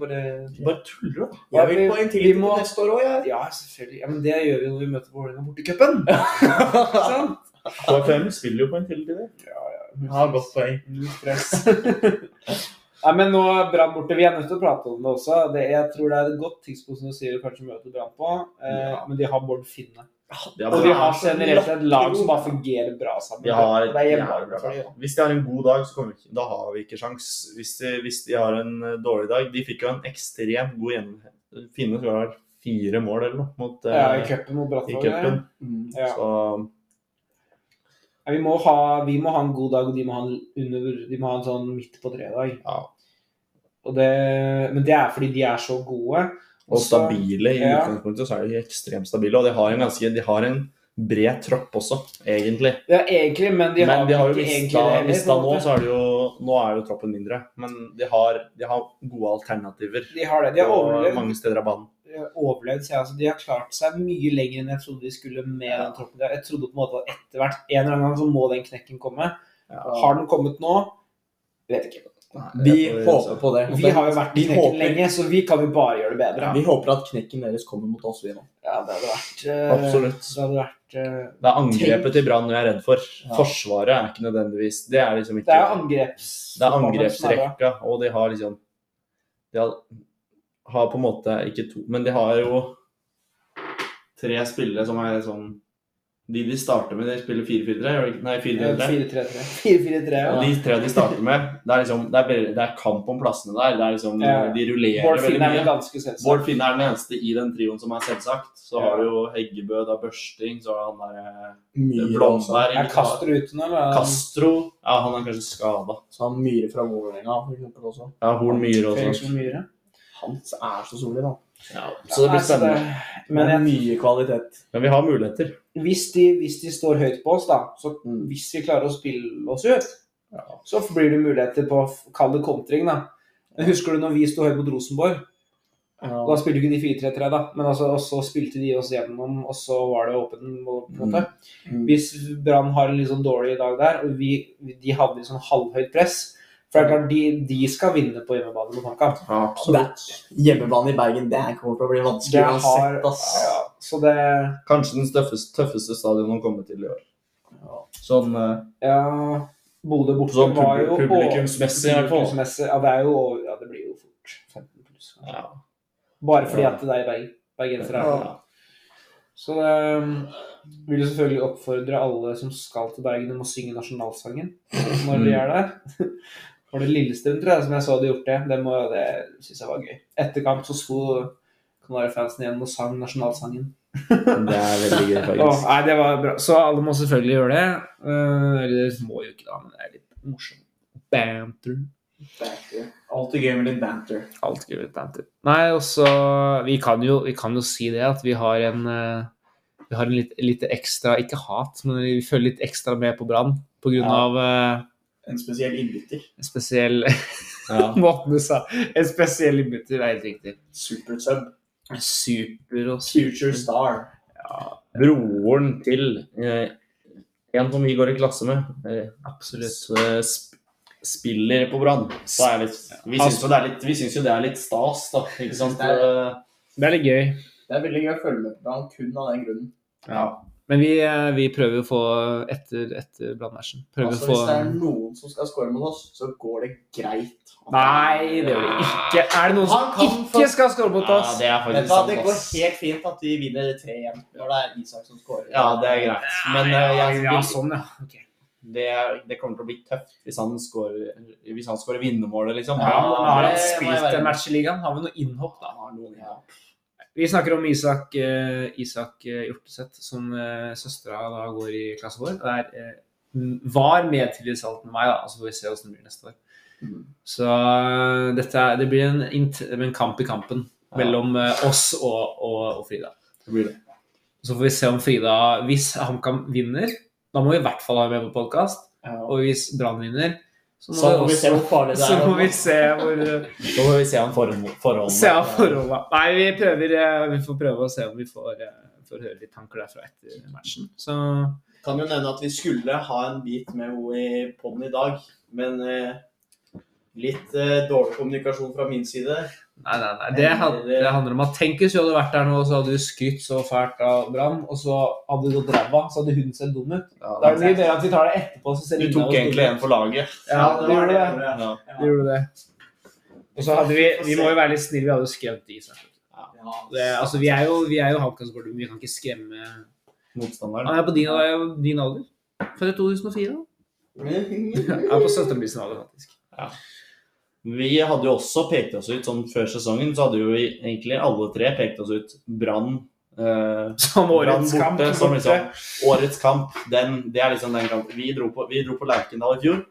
Speaker 3: Bare
Speaker 2: Bare tuller du?
Speaker 3: Ja,
Speaker 1: Jeg vil
Speaker 3: vi-
Speaker 1: på en til
Speaker 3: vi
Speaker 1: til
Speaker 3: må-
Speaker 1: neste år òg, jeg.
Speaker 3: Ja, selvfølgelig. Ja, men det gjør vi når vi møter Vålerenga borte i cupen. Ikke sant?
Speaker 6: KFM spiller jo på en til til det.
Speaker 1: Ja, godt poeng.
Speaker 3: Null stress. Nei, men nå Brann borte. Vi er nødt til å prate om det også. Det, jeg tror det er et godt tidspunkt som du sier å kanskje møte Brann på. Eh, Men de har Bård Finne.
Speaker 2: Ja,
Speaker 3: Og
Speaker 2: men-
Speaker 3: de har generelt et lag som bare fungerer bra sammen.
Speaker 2: De har
Speaker 3: Og det er
Speaker 2: et
Speaker 3: hjemme-
Speaker 2: jævlig bra lag. Hvis de har en god dag, så kommer vi ikke, da har vi ikke sjans. Hvis de, hvis de har en eh, dårlig dag De fikk jo en ekstremt god gjennomhet. Finne tror jeg det var fire mål eller noe mot eh,
Speaker 3: Ja, i cupen mot
Speaker 2: i
Speaker 3: Brattfjord.
Speaker 2: cupen.
Speaker 3: Ja.
Speaker 2: Så
Speaker 3: Ja, vi, må ha, vi må ha en god dag, og de må ha en, under, de må ha en sånn midt på tre-dag.
Speaker 2: ja.
Speaker 3: Og det, men det er fordi de er så gode.
Speaker 2: Og stabile i
Speaker 3: ja.
Speaker 2: utgangspunktet, så er de ekstremt stabile. Og de har en ganske De har en bred tropp også, egentlig.
Speaker 3: Ja, egentlig, men de har,
Speaker 2: men de har jo
Speaker 3: ikke egentlig
Speaker 2: mista,
Speaker 3: det heller,
Speaker 2: mista
Speaker 3: på en
Speaker 2: nå,
Speaker 3: måte.
Speaker 2: så er det jo Nå er jo troppen mindre. Men de har, de har gode alternativer
Speaker 3: De har det. De har
Speaker 2: på
Speaker 3: overlevd,
Speaker 2: mange steder av banen.
Speaker 3: overlevd sier jeg. altså, de har klart seg mye lenger enn jeg trodde de skulle med den troppen. Jeg trodde på en måte at etter hvert, en eller annen gang, så må den knekken komme. Har den kommet nå? Vet ikke.
Speaker 1: Vi
Speaker 2: det får vi
Speaker 1: håper
Speaker 2: se.
Speaker 1: på det.
Speaker 3: Vi har jo vært i
Speaker 1: Vi
Speaker 3: knekken
Speaker 1: håper-
Speaker 3: lenge, så vi kan jo bare gjøre det bedre.
Speaker 1: Vi håper at knekken deres kommer mot oss, vi nå.
Speaker 3: Ja, det hadde vært eh,
Speaker 2: Absolutt.
Speaker 3: Det hadde vært eh,
Speaker 2: Det er angrepet til Brann jeg er redd for.
Speaker 1: Ja.
Speaker 2: Forsvaret er ikke nødvendigvis Det er liksom
Speaker 3: Det
Speaker 2: ikke
Speaker 3: er angreps...
Speaker 2: Det er angrepsrekka, og de har liksom De har, har på en måte ikke to, men de har jo tre spillere som er sånn De de starter med, de spiller 4-4-3, gjør de ikke? Nei, 4-3-3.
Speaker 3: 4-3-3. 4-4-3,
Speaker 2: Og
Speaker 3: ja.
Speaker 2: de tre de starter med, det er liksom Det er, veldig- det er kamp om plassene der. Det er liksom
Speaker 3: Ja.
Speaker 2: De rullerer
Speaker 3: Bård
Speaker 2: veldig
Speaker 3: Finn er
Speaker 2: mye.
Speaker 3: vel ganske selvsagt.
Speaker 2: Bård Finne er den eneste i den trioen som er selvsagt. Så
Speaker 3: Ja.
Speaker 2: har du jo Heggebø, da Børsting, så har han der eh,
Speaker 1: Myhre også.
Speaker 2: Blomberg
Speaker 3: Er Castro ute nå, eller?
Speaker 2: Castro Ja, han er kanskje skada.
Speaker 1: Så han Myhre fra Vålerenga for eksempel også.
Speaker 2: Ja, Horn Myhre og
Speaker 3: Felix
Speaker 2: sånn.
Speaker 3: Myhre?
Speaker 1: Han er så solid, han.
Speaker 2: Så det
Speaker 3: Nei,
Speaker 2: blir
Speaker 3: så
Speaker 2: spennende.
Speaker 3: det- Men
Speaker 1: det er
Speaker 3: jeg,
Speaker 1: mye kvalitet.
Speaker 2: Men vi har muligheter.
Speaker 3: hvis, de, hvis de står høyt på oss, da, så
Speaker 1: Mm.
Speaker 3: hvis vi klarer å spille oss ut, så blir det muligheter på å kalle det kontring, da. Men Husker du når vi sto høyt mot Rosenborg? Da
Speaker 1: Ja.
Speaker 3: spilte ikke de 4-3-3, da, men altså, og så spilte de oss gjennom, og så var det åpen på en måte.
Speaker 1: Mm.
Speaker 3: Hvis Brann har en litt sånn dårlig dag der, og vi, de hadde litt sånn halvhøyt press For det er klart, de, de skal vinne på hjemmebane mot HamKam.
Speaker 1: Absolutt. Hjemmebane i Bergen, det her kommer til å bli vanskelig
Speaker 3: Det har-
Speaker 1: uansett, ass.
Speaker 3: Ja, så det
Speaker 2: Kanskje den tøffeste, tøffeste stadion å komme til i år.
Speaker 1: Ja.
Speaker 2: Sånn, eh,
Speaker 3: Ja, Bodø borte
Speaker 2: sånn
Speaker 3: var jo
Speaker 2: pub publikumsmessig, i hvert fall.
Speaker 3: publikumsmessig- Ja, det er jo over- Ja, det blir jo fort 15 pluss. kanskje.
Speaker 2: Ja.
Speaker 3: Bare fordi at det er berg, bergensere. er det.
Speaker 2: Ja.
Speaker 3: Så det um, vil jo selvfølgelig oppfordre alle som skal til Bergen, om å synge nasjonalsangen når de
Speaker 2: Mm.
Speaker 3: er der. Det var det Lillestrøm, tror jeg, som jeg så hadde gjort det. Det, må- det syns jeg var gøy. Etter kamp så sto Kanarifansen igjen og sang nasjonalsangen.
Speaker 4: Det er veldig gøy,
Speaker 3: Åh,
Speaker 4: faktisk.
Speaker 3: nei, det var bra. Så alle må selvfølgelig gjøre det. Eh, Eller de må jo ikke, da, men det er litt morsomt. Banter.
Speaker 1: Alt i gamet litt banter.
Speaker 3: Alt gul litt banter. Nei, og så vi, kan jo- vi kan jo si det at vi har en eh, Vi har en litt, litt ekstra Ikke hat, men vi følger litt ekstra med på Brann på grunn
Speaker 1: Ja.
Speaker 3: av eh,
Speaker 1: En spesiell innbytter.
Speaker 3: en spesiell
Speaker 4: Ja.
Speaker 3: måten du sa En spesiell innbytter, det er helt riktig.
Speaker 1: Super sub.
Speaker 3: Super og
Speaker 1: Future star.
Speaker 4: Broren til eh, en som vi går i klasse med, eh,
Speaker 3: Absolutt.
Speaker 4: eh, sp spiller på Brann. Så er det litt- Vi syns jo det er litt- vi syns jo det er litt stas, da. Ikke sant? Eh,
Speaker 1: Det er-
Speaker 3: Det er litt gøy.
Speaker 1: Det er veldig gøy å følge med på han kun av den grunnen.
Speaker 3: Men vi, eh, vi prøver å få etter, etter Brann-matchen. Prøver
Speaker 1: Altså,
Speaker 3: å
Speaker 1: hvis det
Speaker 3: få
Speaker 1: er noen som skal score mot oss, så går det greit.
Speaker 3: Nei, det gjør det ikke. Er det
Speaker 1: Han
Speaker 3: noen som
Speaker 1: kan
Speaker 3: ikke
Speaker 1: få-
Speaker 3: skal score mot
Speaker 4: Ja,
Speaker 3: oss?
Speaker 4: det er
Speaker 1: Vet
Speaker 4: faktisk
Speaker 1: du hva, det
Speaker 4: sant,
Speaker 1: går
Speaker 4: ass.
Speaker 1: helt fint at vi vinner 3-1 når det er Isak som scorer.
Speaker 4: Ja, det er greit. Men eh, jeg,
Speaker 3: ja, sånn, ja. Ok.
Speaker 4: det, er- det kommer til å bli tøft hvis han scorer hvis han scorer vinnermålet,
Speaker 3: Ja,
Speaker 4: liksom.
Speaker 3: men har han
Speaker 1: det må jeg
Speaker 3: spilt
Speaker 1: være med.
Speaker 3: en match i ligaen? Har vi noe innhopp, da?
Speaker 1: Han har noen, ja.
Speaker 3: Vi snakker om Isak, eh, Isak eh, Hjorteseth, som eh, søstera da går i klassen vår. Og er, eh, m- var medtillitsvalgt med meg, da. Og så får vi se åssen det blir neste år.
Speaker 1: Mm.
Speaker 3: Så eh, dette er, det blir en, int- en kamp i kampen mellom eh, oss og, og, og Frida.
Speaker 4: Det blir det.
Speaker 3: Så får vi se om Frida Hvis HamKam vinner, da må vi i hvert fall ha henne med på podkast.
Speaker 1: Ja.
Speaker 3: Og hvis Brann vinner, så må,
Speaker 1: Så må
Speaker 3: vi
Speaker 1: vi se
Speaker 3: også,
Speaker 1: hvor farlig det
Speaker 3: så
Speaker 1: er.
Speaker 3: må vi se hvor eh,
Speaker 4: Da får vi se om forhold- forholdene.
Speaker 3: Se av forholda. Nei, vi prøver eh, Vi får prøve å se om vi får, eh, får høre litt tanker derfra etter matchen. Så
Speaker 1: Kan jo nevne at vi skulle ha en bit med henne i podden i dag, men eh, litt eh, dårlig kommunikasjon fra min side.
Speaker 3: Nei, nei, nei. Det, han- det handler om at tenk hvis vi hadde vært der nå, så hadde vi skrytt så fælt av Brann, og så hadde det gått ræva, så hadde hun sett dum ut. Da er det mye bedre at vi tar det etterpå, så ser
Speaker 4: Du tok egentlig en for laget.
Speaker 3: Ja, det gjorde det.
Speaker 4: Ja.
Speaker 3: Vi gjorde det. Og så hadde vi Vi må jo være litt snille, vi hadde jo skremt de. så- Det, altså, vi er jo, vi er jo HamKam-supportere, men vi kan ikke skremme
Speaker 4: Motstanderen.
Speaker 3: Han er på din, han er jo din alder. Født i 2004. da. Han er på søsteren min sin alder, faktisk.
Speaker 4: Vi hadde jo også pekt oss ut sånn før sesongen, så hadde jo vi egentlig alle tre pekt oss ut. Brann. Eh,
Speaker 3: Som årets
Speaker 4: Brann
Speaker 3: kamp.
Speaker 4: borte, som
Speaker 3: borte.
Speaker 4: liksom, årets kamp, den, det er liksom den kampen. Vi dro på, vi dro på Lerkendal i fjor,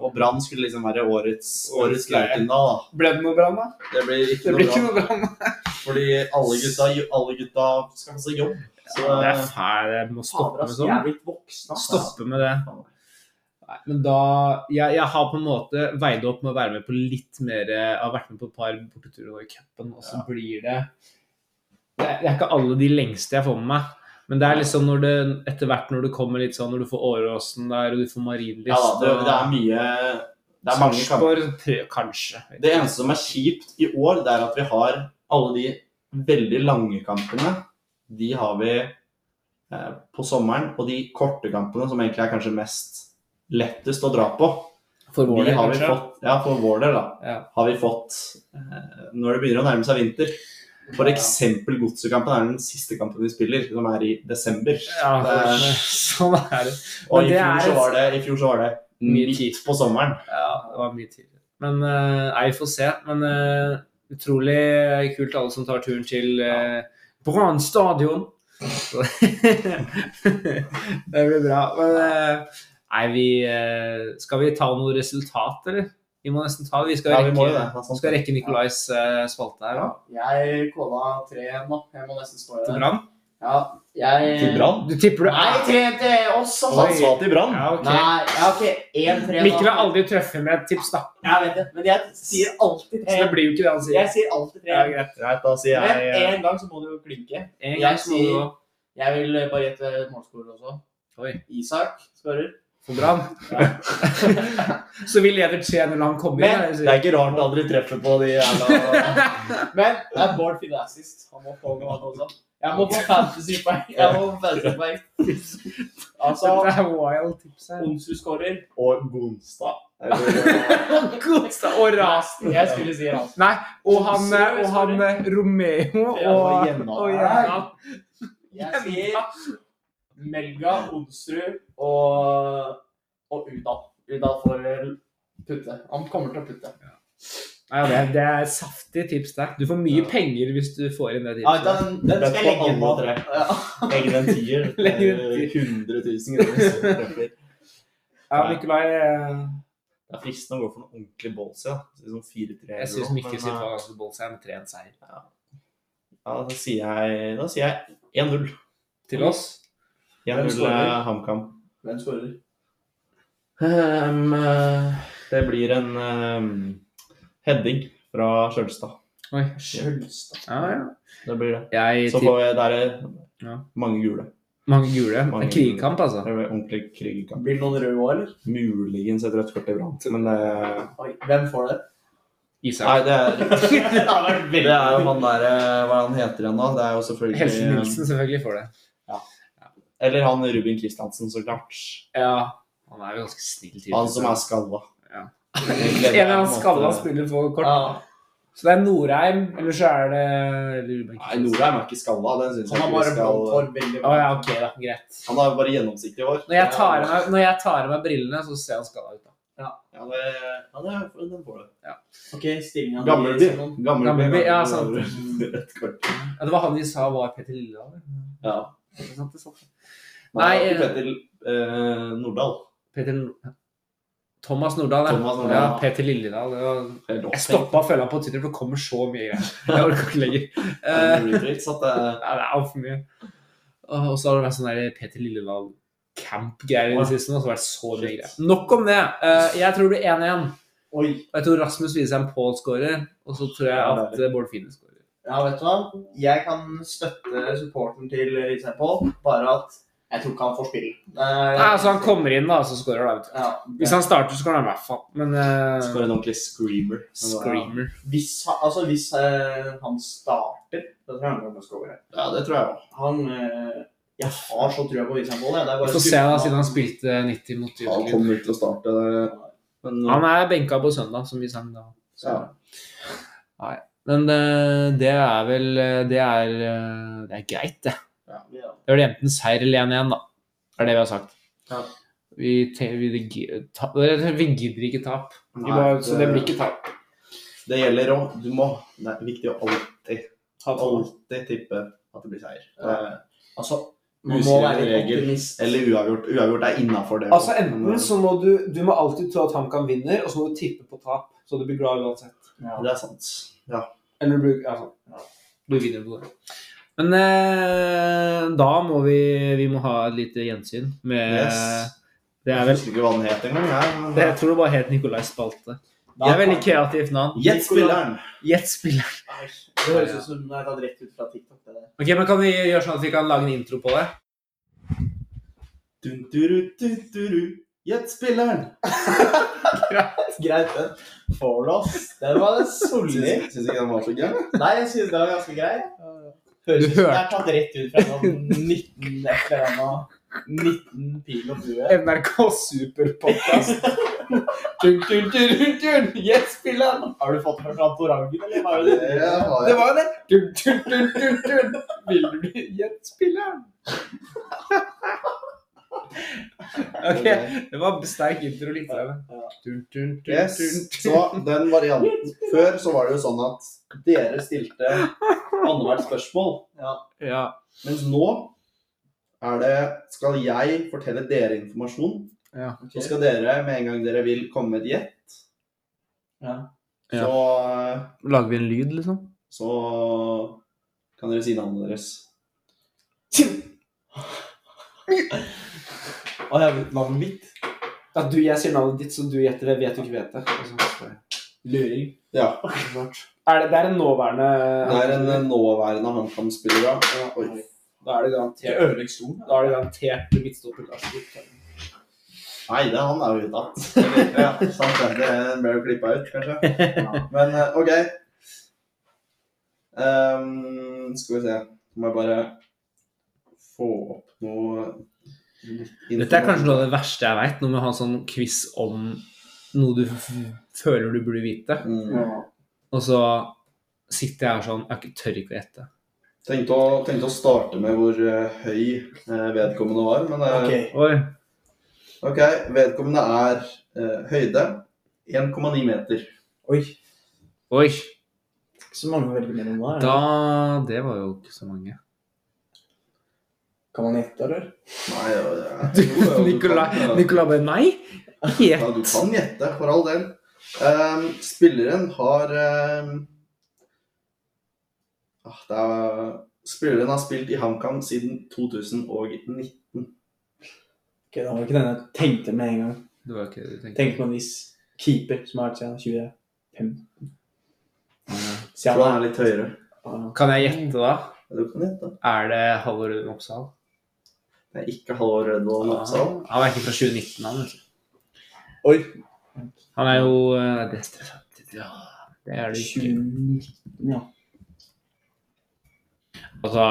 Speaker 4: og Brann skulle liksom være årets,
Speaker 3: Årets
Speaker 4: årets
Speaker 3: leie.
Speaker 4: Lerkendal. da.
Speaker 3: Ble det noe brann, da?
Speaker 4: Det blir ikke
Speaker 3: Det
Speaker 4: noe
Speaker 3: blir ikke
Speaker 4: bra,
Speaker 3: noe brann.
Speaker 4: fordi alle gutta, alle gutta skal få seg jobb. Så eh,
Speaker 3: Det er fælt. Jeg må stoppe med
Speaker 1: Jeg
Speaker 3: sånn.
Speaker 1: er blitt voksen, ass.
Speaker 3: Stoppe med det. Nei, men da jeg, jeg har på en måte veid opp med å være med på litt mer eh, Jeg har vært med på et par borteturer nå i cupen, og så blir det det er, det er ikke alle de lengste jeg får med meg. Men det er liksom når det, etter hvert når det kommer litt sånn Når du får Åråsen der, og du får Marienlyst
Speaker 4: ja da, det, det er mye Det er mange kamper.
Speaker 3: Sarpsborg, Kanskje.
Speaker 4: Det eneste som er kjipt i år, det er at vi har alle de veldig lange kampene. De har vi eh, på sommeren. Og de korte kampene, som egentlig er kanskje mest lettest å dra på,
Speaker 3: For vår
Speaker 4: de
Speaker 3: del,
Speaker 4: har vi
Speaker 3: kanskje.
Speaker 4: fått Ja, for vår del, da.
Speaker 3: Ja.
Speaker 4: Har vi fått eh, Når det begynner å nærme seg vinter. For eksempel Godsekampen er den siste kampen vi spiller, som er i desember.
Speaker 3: Ja,
Speaker 4: Eh,
Speaker 3: sånn er det.
Speaker 4: og
Speaker 3: men
Speaker 4: i
Speaker 3: det
Speaker 4: fjor,
Speaker 3: er
Speaker 4: så
Speaker 3: et-
Speaker 4: var det, i fjor så var det
Speaker 3: Mye
Speaker 4: midt på sommeren.
Speaker 3: Ja, det var mye tidligere. Men eh, nei, vi får se. Men eh, utrolig eh, kult alle som tar turen til uh, Brann stadion. Så- det blir bra. Men eh, nei, vi eh, Skal vi ta noe resultat, eller? Vi må nesten ta Vi skal
Speaker 4: Ja, vi må jo
Speaker 3: rekke,
Speaker 4: det. Det er
Speaker 3: vi
Speaker 4: sant.
Speaker 3: skal rekke Nikolais eh, spalte her. da.
Speaker 1: Jeg kåla 3-1 nå. Jeg må nesten stå i
Speaker 3: Til
Speaker 1: det.
Speaker 3: Brann.
Speaker 1: Ja, jeg
Speaker 4: Til Brann?
Speaker 3: Du tipper du
Speaker 1: Nei, 3-1 til oss,
Speaker 4: Og
Speaker 1: altså.
Speaker 4: han sa til Brann.
Speaker 3: Ja, ok.
Speaker 1: Nei, ja, OK. 1-3. da.
Speaker 3: Mikkel har aldri truffet med et tips, da.
Speaker 1: Jeg vet det, men jeg sier alltid
Speaker 3: Så det
Speaker 1: 3-1.
Speaker 3: blir jo ikke det han sier.
Speaker 1: Jeg sier alltid
Speaker 3: Ja,
Speaker 1: 3-1.
Speaker 3: greit.
Speaker 4: Greit, da sier
Speaker 1: Men
Speaker 4: jeg eh,
Speaker 1: en gang så må du jo klinke.
Speaker 3: En
Speaker 1: Jeg
Speaker 3: gang så må du
Speaker 1: sier-
Speaker 3: gå.
Speaker 1: Jeg vil eh, bare gjette målskårer også.
Speaker 3: Oi.
Speaker 1: Isak skårer.
Speaker 3: For Brann. Så vi leder 3-0 han kommer
Speaker 1: Men-
Speaker 3: inn. da, jeg sier.
Speaker 4: Det er ikke rart det aldri treffer på de jævla
Speaker 1: Men det er Bård Fidde assist. Han må få med han også. Jeg må få fantasypoeng. Jeg må få fantasypoeng. Altså,
Speaker 3: Dette er wild tips her.
Speaker 1: Onsrud skårer.
Speaker 4: Og Gonstad.
Speaker 3: Godstad og Rasen.
Speaker 1: Jeg skulle si han.
Speaker 3: Nei, og han, eh, og han eh, Romeo
Speaker 1: Ja,
Speaker 3: og,
Speaker 4: Gjennom.
Speaker 3: og Gjennom.
Speaker 1: Jeg sier Melga, Onsrud eh, og, og Udal. Udal får vel putte. Han kommer til å putte.
Speaker 3: Nei, ja, det, er, det er saftig tips der. Du får mye penger hvis du får inn det
Speaker 7: Ja,
Speaker 3: tipset.
Speaker 7: den, den skal jeg legge inn på. Ja.
Speaker 4: Legg inn en tier.
Speaker 3: Legg inn en
Speaker 4: eh, 100 000 kroner. hvis du treffer.
Speaker 3: Ja, Nikolai eh,
Speaker 4: Det er fristende å gå for noe ordentlig ballsy. da. Sånn 4-3
Speaker 3: Jeg syns
Speaker 4: euro,
Speaker 3: Mikke
Speaker 4: men,
Speaker 3: sitt
Speaker 4: eh,
Speaker 3: var ganske bolsheim. 3-1-seier
Speaker 4: Ja, da sier jeg, da sier jeg 1-0.
Speaker 3: til oss.
Speaker 4: 1-0
Speaker 7: skårer?
Speaker 4: eh, HamKam.
Speaker 7: Hvem skårer?
Speaker 4: Ehm, eh, det blir en ehm, heading fra Skjølstad.
Speaker 3: Oi.
Speaker 7: Skjølstad.
Speaker 3: Ja,
Speaker 4: Det blir det.
Speaker 3: ja. Jeg
Speaker 4: Så
Speaker 3: tipper
Speaker 4: får jeg, der er eh,
Speaker 3: Ja.
Speaker 4: mange gule.
Speaker 3: mange gule.
Speaker 4: Mange
Speaker 3: En krigkamp, altså.
Speaker 4: Det blir ordentlig krigkamp.
Speaker 7: Blir det noen røde òg, eller?
Speaker 4: Muligens et rødt kort i Brann, men det
Speaker 7: Oi, hvem får det?
Speaker 3: Isak.
Speaker 4: Nei, det er, det er jo han der eh, Hva er han heter igjen, da? Det er jo selvfølgelig
Speaker 3: Helsen Nilsen selvfølgelig får det.
Speaker 4: Eller han Ruben Kristiansen, så klart.
Speaker 3: Ja. Han er jo ganske snill type.
Speaker 4: Han som er skalla.
Speaker 3: Ja.
Speaker 4: Egentlig er det
Speaker 3: En av
Speaker 4: på en
Speaker 3: skalla
Speaker 4: måte-
Speaker 3: spiller for kort. Så det er Norheim, eller så er det Ruben
Speaker 4: Nei, Norheim er ikke skalla. Den synes
Speaker 7: Han
Speaker 4: jeg
Speaker 7: har
Speaker 4: ikke vi
Speaker 7: bare
Speaker 4: skal
Speaker 7: blått hår. Veldig
Speaker 3: Å ja, ok, da. Greit.
Speaker 4: Han har bare gjennomsiktig hår.
Speaker 3: Når jeg tar av meg, når jeg tar av meg brillene, så ser han skada ut. da.
Speaker 4: Ja, det, ja, det er, den får du.
Speaker 7: Ok, stillinga
Speaker 4: Gammelby.
Speaker 3: Gammelby,
Speaker 4: Gammelby.
Speaker 3: ja, sant.
Speaker 4: Rødt kort.
Speaker 3: Ja, det var han vi sa var Petter Lillehammer.
Speaker 4: Ja.
Speaker 3: Ikke sant, det satt.
Speaker 4: Nei,
Speaker 3: Nei,
Speaker 4: ikke
Speaker 3: eh,
Speaker 4: Petter eh, Nordahl.
Speaker 3: Petter Nord- Thomas Nordahl, ja.
Speaker 4: Thomas Nordahl.
Speaker 3: Ja, Petter Lilledal. det var-
Speaker 4: Helt
Speaker 3: Jeg
Speaker 4: opphengt.
Speaker 3: stoppa å følge ham på Twitter, for det kommer så mye greier. Jeg orker ikke lenger. Eh,
Speaker 4: Han blir dritt, så at det-
Speaker 3: Nei, det er altfor mye. Og og så har det vært sånn der Peter Lilleland camp-greier i det siste. nå, så har det vært så mye
Speaker 4: Shit.
Speaker 3: greier. Nok om det. Eh, jeg tror det blir 1-1.
Speaker 7: Oi.
Speaker 3: Og jeg tror Rasmus Widsheim Paul skårer. Og så tror jeg
Speaker 4: Ja,
Speaker 3: at eh, Bård Fine skårer.
Speaker 7: Ja, vet du hva? Jeg kan støtte supporten til Lise Pål, bare at jeg tror ikke han får spille.
Speaker 3: Nei, altså Han kommer inn, da, og så skårer han.
Speaker 7: Ja,
Speaker 3: Hvis han starter, så skårer han i hvert fall. Men eh,
Speaker 4: Så får en ordentlig screamer.
Speaker 3: Screamer.
Speaker 7: hvis, han, altså, hvis eh, han starter, da tror jeg han kommer til å skåre.
Speaker 4: Ja, det tror jeg òg.
Speaker 7: Han eh, Jeg har så trua på Lise Pål.
Speaker 3: Vi får se, da, siden han spilte 90 mot
Speaker 4: Han
Speaker 3: Jørgen.
Speaker 4: kommer til å starte. Men nå-
Speaker 3: Han er benka på søndag, som vi sang da. Så.
Speaker 4: Ja.
Speaker 3: Nei. Men eh, det er vel eh, Det er, eh, det er greit, det.
Speaker 7: Ja.
Speaker 3: Da er det enten seier eller 1-1, da. Er det vi har sagt.
Speaker 4: Ja.
Speaker 3: Vi, te, vi, gi- ta, vi gidder ikke tap. Vi
Speaker 4: Nei,
Speaker 3: bare, så det
Speaker 4: det-
Speaker 3: blir ikke tap.
Speaker 4: Det gjelder om Du må Det er viktig å alltid, alltid tippe at det blir seier. Eh,
Speaker 7: Ja. Altså, man må
Speaker 4: Uskreven
Speaker 7: være litt
Speaker 4: regel.
Speaker 7: optimist.
Speaker 4: Eller uavgjort. Uavgjort er innafor det.
Speaker 3: Altså Enten så må du Du må alltid tro at HamKam vinner, og så må du tippe på tap. Så du blir glad uansett.
Speaker 7: Ja.
Speaker 4: Det er sant. Ja.
Speaker 3: Eller du blir ja, sånn. Du vinner på det. Men eh, da må vi Vi må ha et lite gjensyn med
Speaker 4: Yes.
Speaker 3: Det er
Speaker 4: Jeg
Speaker 3: vel
Speaker 4: husker ikke hva den het engang. jeg, men- eh,
Speaker 3: det, Jeg tror det bare het Nikolai Spalte. Det er veldig kreativt navn.
Speaker 4: Gjett spilleren!
Speaker 3: Gjett spilleren.
Speaker 7: Nei, Det høres ut som det er tatt rett ut fra TikTok. Det der.
Speaker 3: Ok, men Kan vi gjøre sånn at vi kan lage en intro på det?
Speaker 4: Dun, duru, dun, duru. Gjett spilleren!
Speaker 7: Greit, den får du, ass. Den var solid.
Speaker 4: Syns syns ikke den var så gæren?
Speaker 7: Nei, jeg synes det var ganske grei. Høres ut som det er tatt rett ut fra noen 19 et eller annet. 19 pil og bue.
Speaker 3: NRK Superpodkast. Yes, spilleren!
Speaker 7: Har du fått den fra Torangen, eller hva er det? du driver med?
Speaker 3: Det var jo det. Dun, dun, dun, dun, dun. Vil du bli Yes, spilleren? Ok, det var sterk intro litt der. Dun, dun, dun,
Speaker 4: Yes.
Speaker 3: dun.
Speaker 4: Så den varianten Før så var det jo sånn at dere stilte annethvert spørsmål.
Speaker 3: Ja.
Speaker 4: Mens nå er det Skal jeg fortelle dere informasjon?
Speaker 3: Ja.
Speaker 4: Så skal dere, med en gang dere vil, komme med et gjett.
Speaker 7: Ja.
Speaker 4: Så,
Speaker 3: Lager vi en lyd, liksom?
Speaker 4: så kan dere si navnet deres.
Speaker 7: Å, jeg vet navnet mitt.
Speaker 3: At du, jeg sier navnet ditt, så du gjetter det. Vet du ikke vet det. Altså,
Speaker 7: Luring.
Speaker 4: Ja.
Speaker 3: Er det, det er en nåværende
Speaker 4: Det er en eh, nåværende HamKam-spiller, da.
Speaker 3: Ja,
Speaker 4: Oi.
Speaker 3: Da er det garantert
Speaker 7: ødelegger stolen.
Speaker 3: Da er det garantert midtstopper. Lars.
Speaker 4: Nei, det han er jo uttatt. Ja, sant det. Det ble jo klippa ut, kanskje. Men eh, OK. Ehm, skal vi se. Må jeg bare få opp noe litt
Speaker 3: Dette er kanskje noe av det verste jeg veit, når vi har en sånn quiz om noe du f- føler du burde vite,
Speaker 4: mm.
Speaker 7: Ja.
Speaker 3: og så sitter jeg her sånn Jeg ikke- tør ikke å gjette.
Speaker 4: Tenkte å, tenkte å starte med hvor eh, høy eh, vedkommende var, men eh,
Speaker 7: Ok.
Speaker 3: Oi.
Speaker 4: OK. Vedkommende er eh, høyde 1,9 meter.
Speaker 7: Oi.
Speaker 3: Oi,
Speaker 1: Ikke så mange å velge mellom da. er det?
Speaker 3: da Det var jo ikke så mange.
Speaker 1: Kan man gjette, eller?
Speaker 4: Nei, ja, ja.
Speaker 3: Du,
Speaker 4: Jo, ja, du
Speaker 3: Nicolai,
Speaker 4: kan, ja.
Speaker 3: Nicolai bare Nei!
Speaker 4: Ja, du kan gjette, for all del. Ehm, spilleren har ehm, ah, det er, Spilleren har spilt i HamKam siden 2019.
Speaker 1: Ok, det var ikke den jeg tenkte med en gang.
Speaker 3: Det var jo ikke det du tenkte.
Speaker 1: Tenk på en viss keeper som har vært siden 2015.
Speaker 4: Tror
Speaker 1: Siden
Speaker 4: han er litt høyere.
Speaker 1: han
Speaker 3: Kan jeg gjette, da?
Speaker 4: Ja, Du kan gjette.
Speaker 3: Er det Halvor Røden Oppsal?
Speaker 4: Det er ikke Halvor Rødvold Oppsal.
Speaker 3: Han er ikke fra 2019, han. vet du.
Speaker 1: Oi,
Speaker 3: Han er jo eh, Det er stressant. Ja, det er det ikke.
Speaker 1: 2019, ja.
Speaker 3: Altså,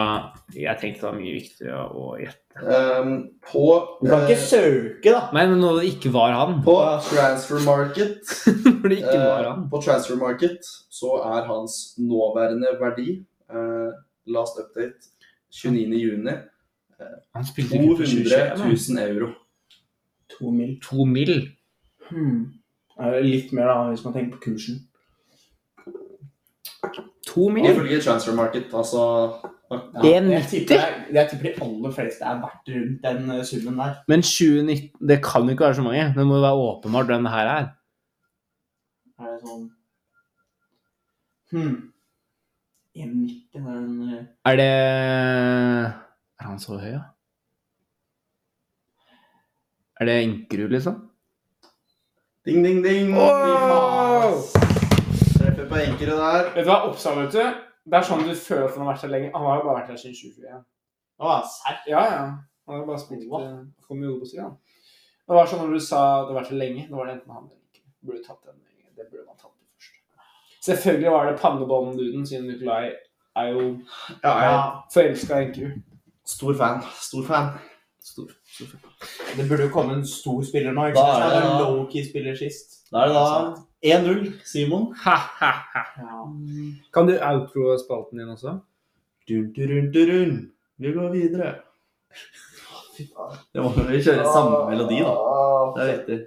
Speaker 3: jeg tenkte det var mye viktigere å gjette.
Speaker 4: Ehm, på,
Speaker 1: Du kan
Speaker 4: eh,
Speaker 1: ikke søke, da.
Speaker 3: Nei, men når det ikke var han.
Speaker 4: på Transfer Market
Speaker 3: Når det ikke var han.
Speaker 4: eh, På Transfer Market så er hans nåværende verdi eh, Last update 29.6.
Speaker 3: Han spilte ikke på 2021.
Speaker 4: 200 000 euro.
Speaker 1: To mil.
Speaker 3: To mil.
Speaker 1: Hmm. Er det litt mer, da, hvis man tenker på kursen.
Speaker 3: To mil?
Speaker 4: Ifølge Transfer Market, altså
Speaker 1: Ja,
Speaker 3: En
Speaker 1: jeg, tipper, jeg, jeg tipper de aller fleste er verdt rundt den eh, summen der.
Speaker 3: Men 2019 Det kan jo ikke være så mange. Det må jo være åpenbart hvem det her er.
Speaker 1: Er det sånn hmm. 1,90 er den eh,
Speaker 3: Er det Er han så høy, ja? Er det Inkerud, liksom?
Speaker 4: Ding, ding, ding!
Speaker 3: Wow!
Speaker 4: Treffer på enkere der.
Speaker 8: Vet du hva, Oppsal, vet du. Det er sånn du føler for han har vært her lenge. Han har jo bare vært her siden 2021.
Speaker 1: Å, serr?
Speaker 8: Ja, ja. Han har jo bare spilt eh, Kom i hodet på siden. Det var sånn når du sa det har vært her lenge, da var det enten han eller ikke. Burde tatt den. eh, Det burde man tatt den først. Selvfølgelig var det pannebånd-duden, siden Nikolai er jo
Speaker 4: Ja, jeg er
Speaker 8: forelska i Enkerud.
Speaker 4: stor fan. Stor fan.
Speaker 1: Det burde jo komme en stor spiller nå. ikke
Speaker 4: Da
Speaker 1: sant?
Speaker 4: er det
Speaker 1: Det var
Speaker 4: da-
Speaker 1: en low-key spiller sist.
Speaker 4: Da er det da 1-0, Simon.
Speaker 1: Ja.
Speaker 3: Kan du outro spalten din også?
Speaker 4: Dun, dun, dun, dun, dun. Vi går videre. Det må vi kjøre samme melodi, da. Det er riktig.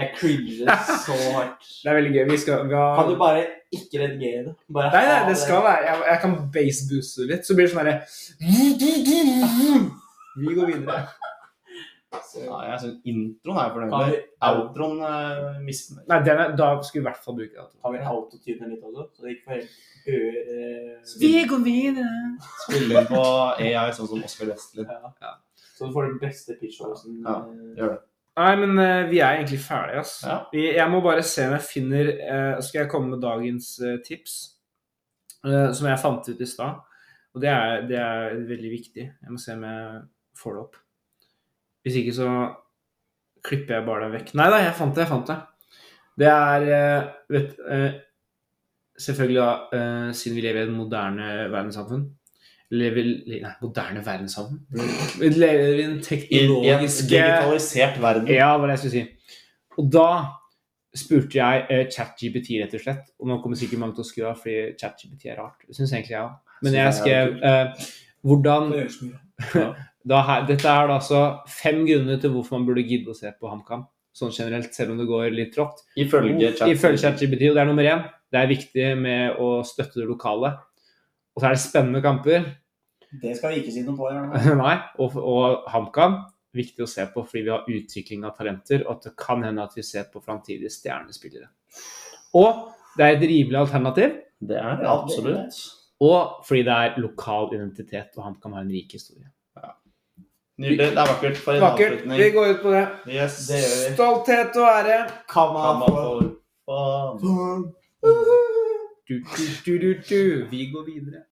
Speaker 1: Jeg cringer så hardt.
Speaker 3: Det er veldig gøy. Vi skal vi har...
Speaker 1: Kan du bare ikke redigere det? Bare
Speaker 3: Nei, nei,
Speaker 1: ha
Speaker 3: det skal være Jeg, jeg kan basebooste litt, så blir det sånn herre Vi går videre.
Speaker 4: Ja, jeg er sånn Introen er jeg fornøyd
Speaker 1: Kan
Speaker 4: med.
Speaker 1: vi,
Speaker 4: Outroen eh, misfornøyd.
Speaker 3: Nei, den er, da skulle vi i hvert fall bruke outro.
Speaker 1: kan vi autotune litt også? Så det ikke får helt eh, øre...
Speaker 3: Vi går videre.
Speaker 4: Spille inn på AI, sånn som Oscar Westlid.
Speaker 1: Ja. Så du får den beste pitchhosen.
Speaker 4: Ja.
Speaker 1: eh,
Speaker 4: Gjør det.
Speaker 3: Nei, men eh, vi er egentlig ferdige, ass.
Speaker 4: Ja.
Speaker 3: Vi, jeg må bare se om jeg finner eh, Skal jeg komme med dagens eh, tips? eh, som jeg fant ut i stad. Og det er, det er veldig viktig. Jeg må se om jeg får det opp. Hvis ikke så klipper jeg bare det vekk. Nei da, jeg fant det, jeg fant det. Det er eh, vet, eh, Selvfølgelig, da, eh, siden vi lever i et moderne verdenssamfunn Lever, le- nei, moderne verdenssamfunn? Vi lever i en
Speaker 4: I en
Speaker 3: teknologiske
Speaker 4: digitalisert verden.
Speaker 3: ja, det var det jeg skulle si. Og da spurte jeg eh, ChatGPT, rett og slett. Og nå kommer sikkert mange til å skru av fordi ChatGPT er rart. Det syns egentlig jeg òg. Men jeg
Speaker 4: Synes jeg er
Speaker 3: skrev eh, hvordan
Speaker 4: Ja.
Speaker 3: da her, Dette er da altså fem grunner til hvorfor man burde gidde å se på HamKam. Sånn generelt, selv om det går litt trått.
Speaker 4: Ifølge chat.
Speaker 3: Ifølge ChatGPT. Og det er nummer én. Det er viktig med å støtte det lokale. Og så er det spennende kamper.
Speaker 1: Det skal vi ikke si noe på. Jørgen.
Speaker 3: Nei, og, og HamKam viktig å se på fordi vi har utvikling av talenter, og at det kan hende at vi ser på framtidige stjernespillere. Og det er et rimelig alternativ,
Speaker 4: Det
Speaker 1: Ja, det er
Speaker 4: er det,
Speaker 1: det.
Speaker 4: absolutt.
Speaker 3: og fordi det er lokal identitet, og HamKam har en rik historie.
Speaker 4: Nydelig. Det er vakkert for en
Speaker 3: Vakkert. Vi
Speaker 4: avslutning.
Speaker 3: går ut på det.
Speaker 4: Yes.
Speaker 1: Det gjør vi.
Speaker 3: Stolthet og ære.
Speaker 1: Kamma
Speaker 4: Kamma
Speaker 1: for
Speaker 4: for faen.
Speaker 3: Du, du, du, du, du. Vi går videre.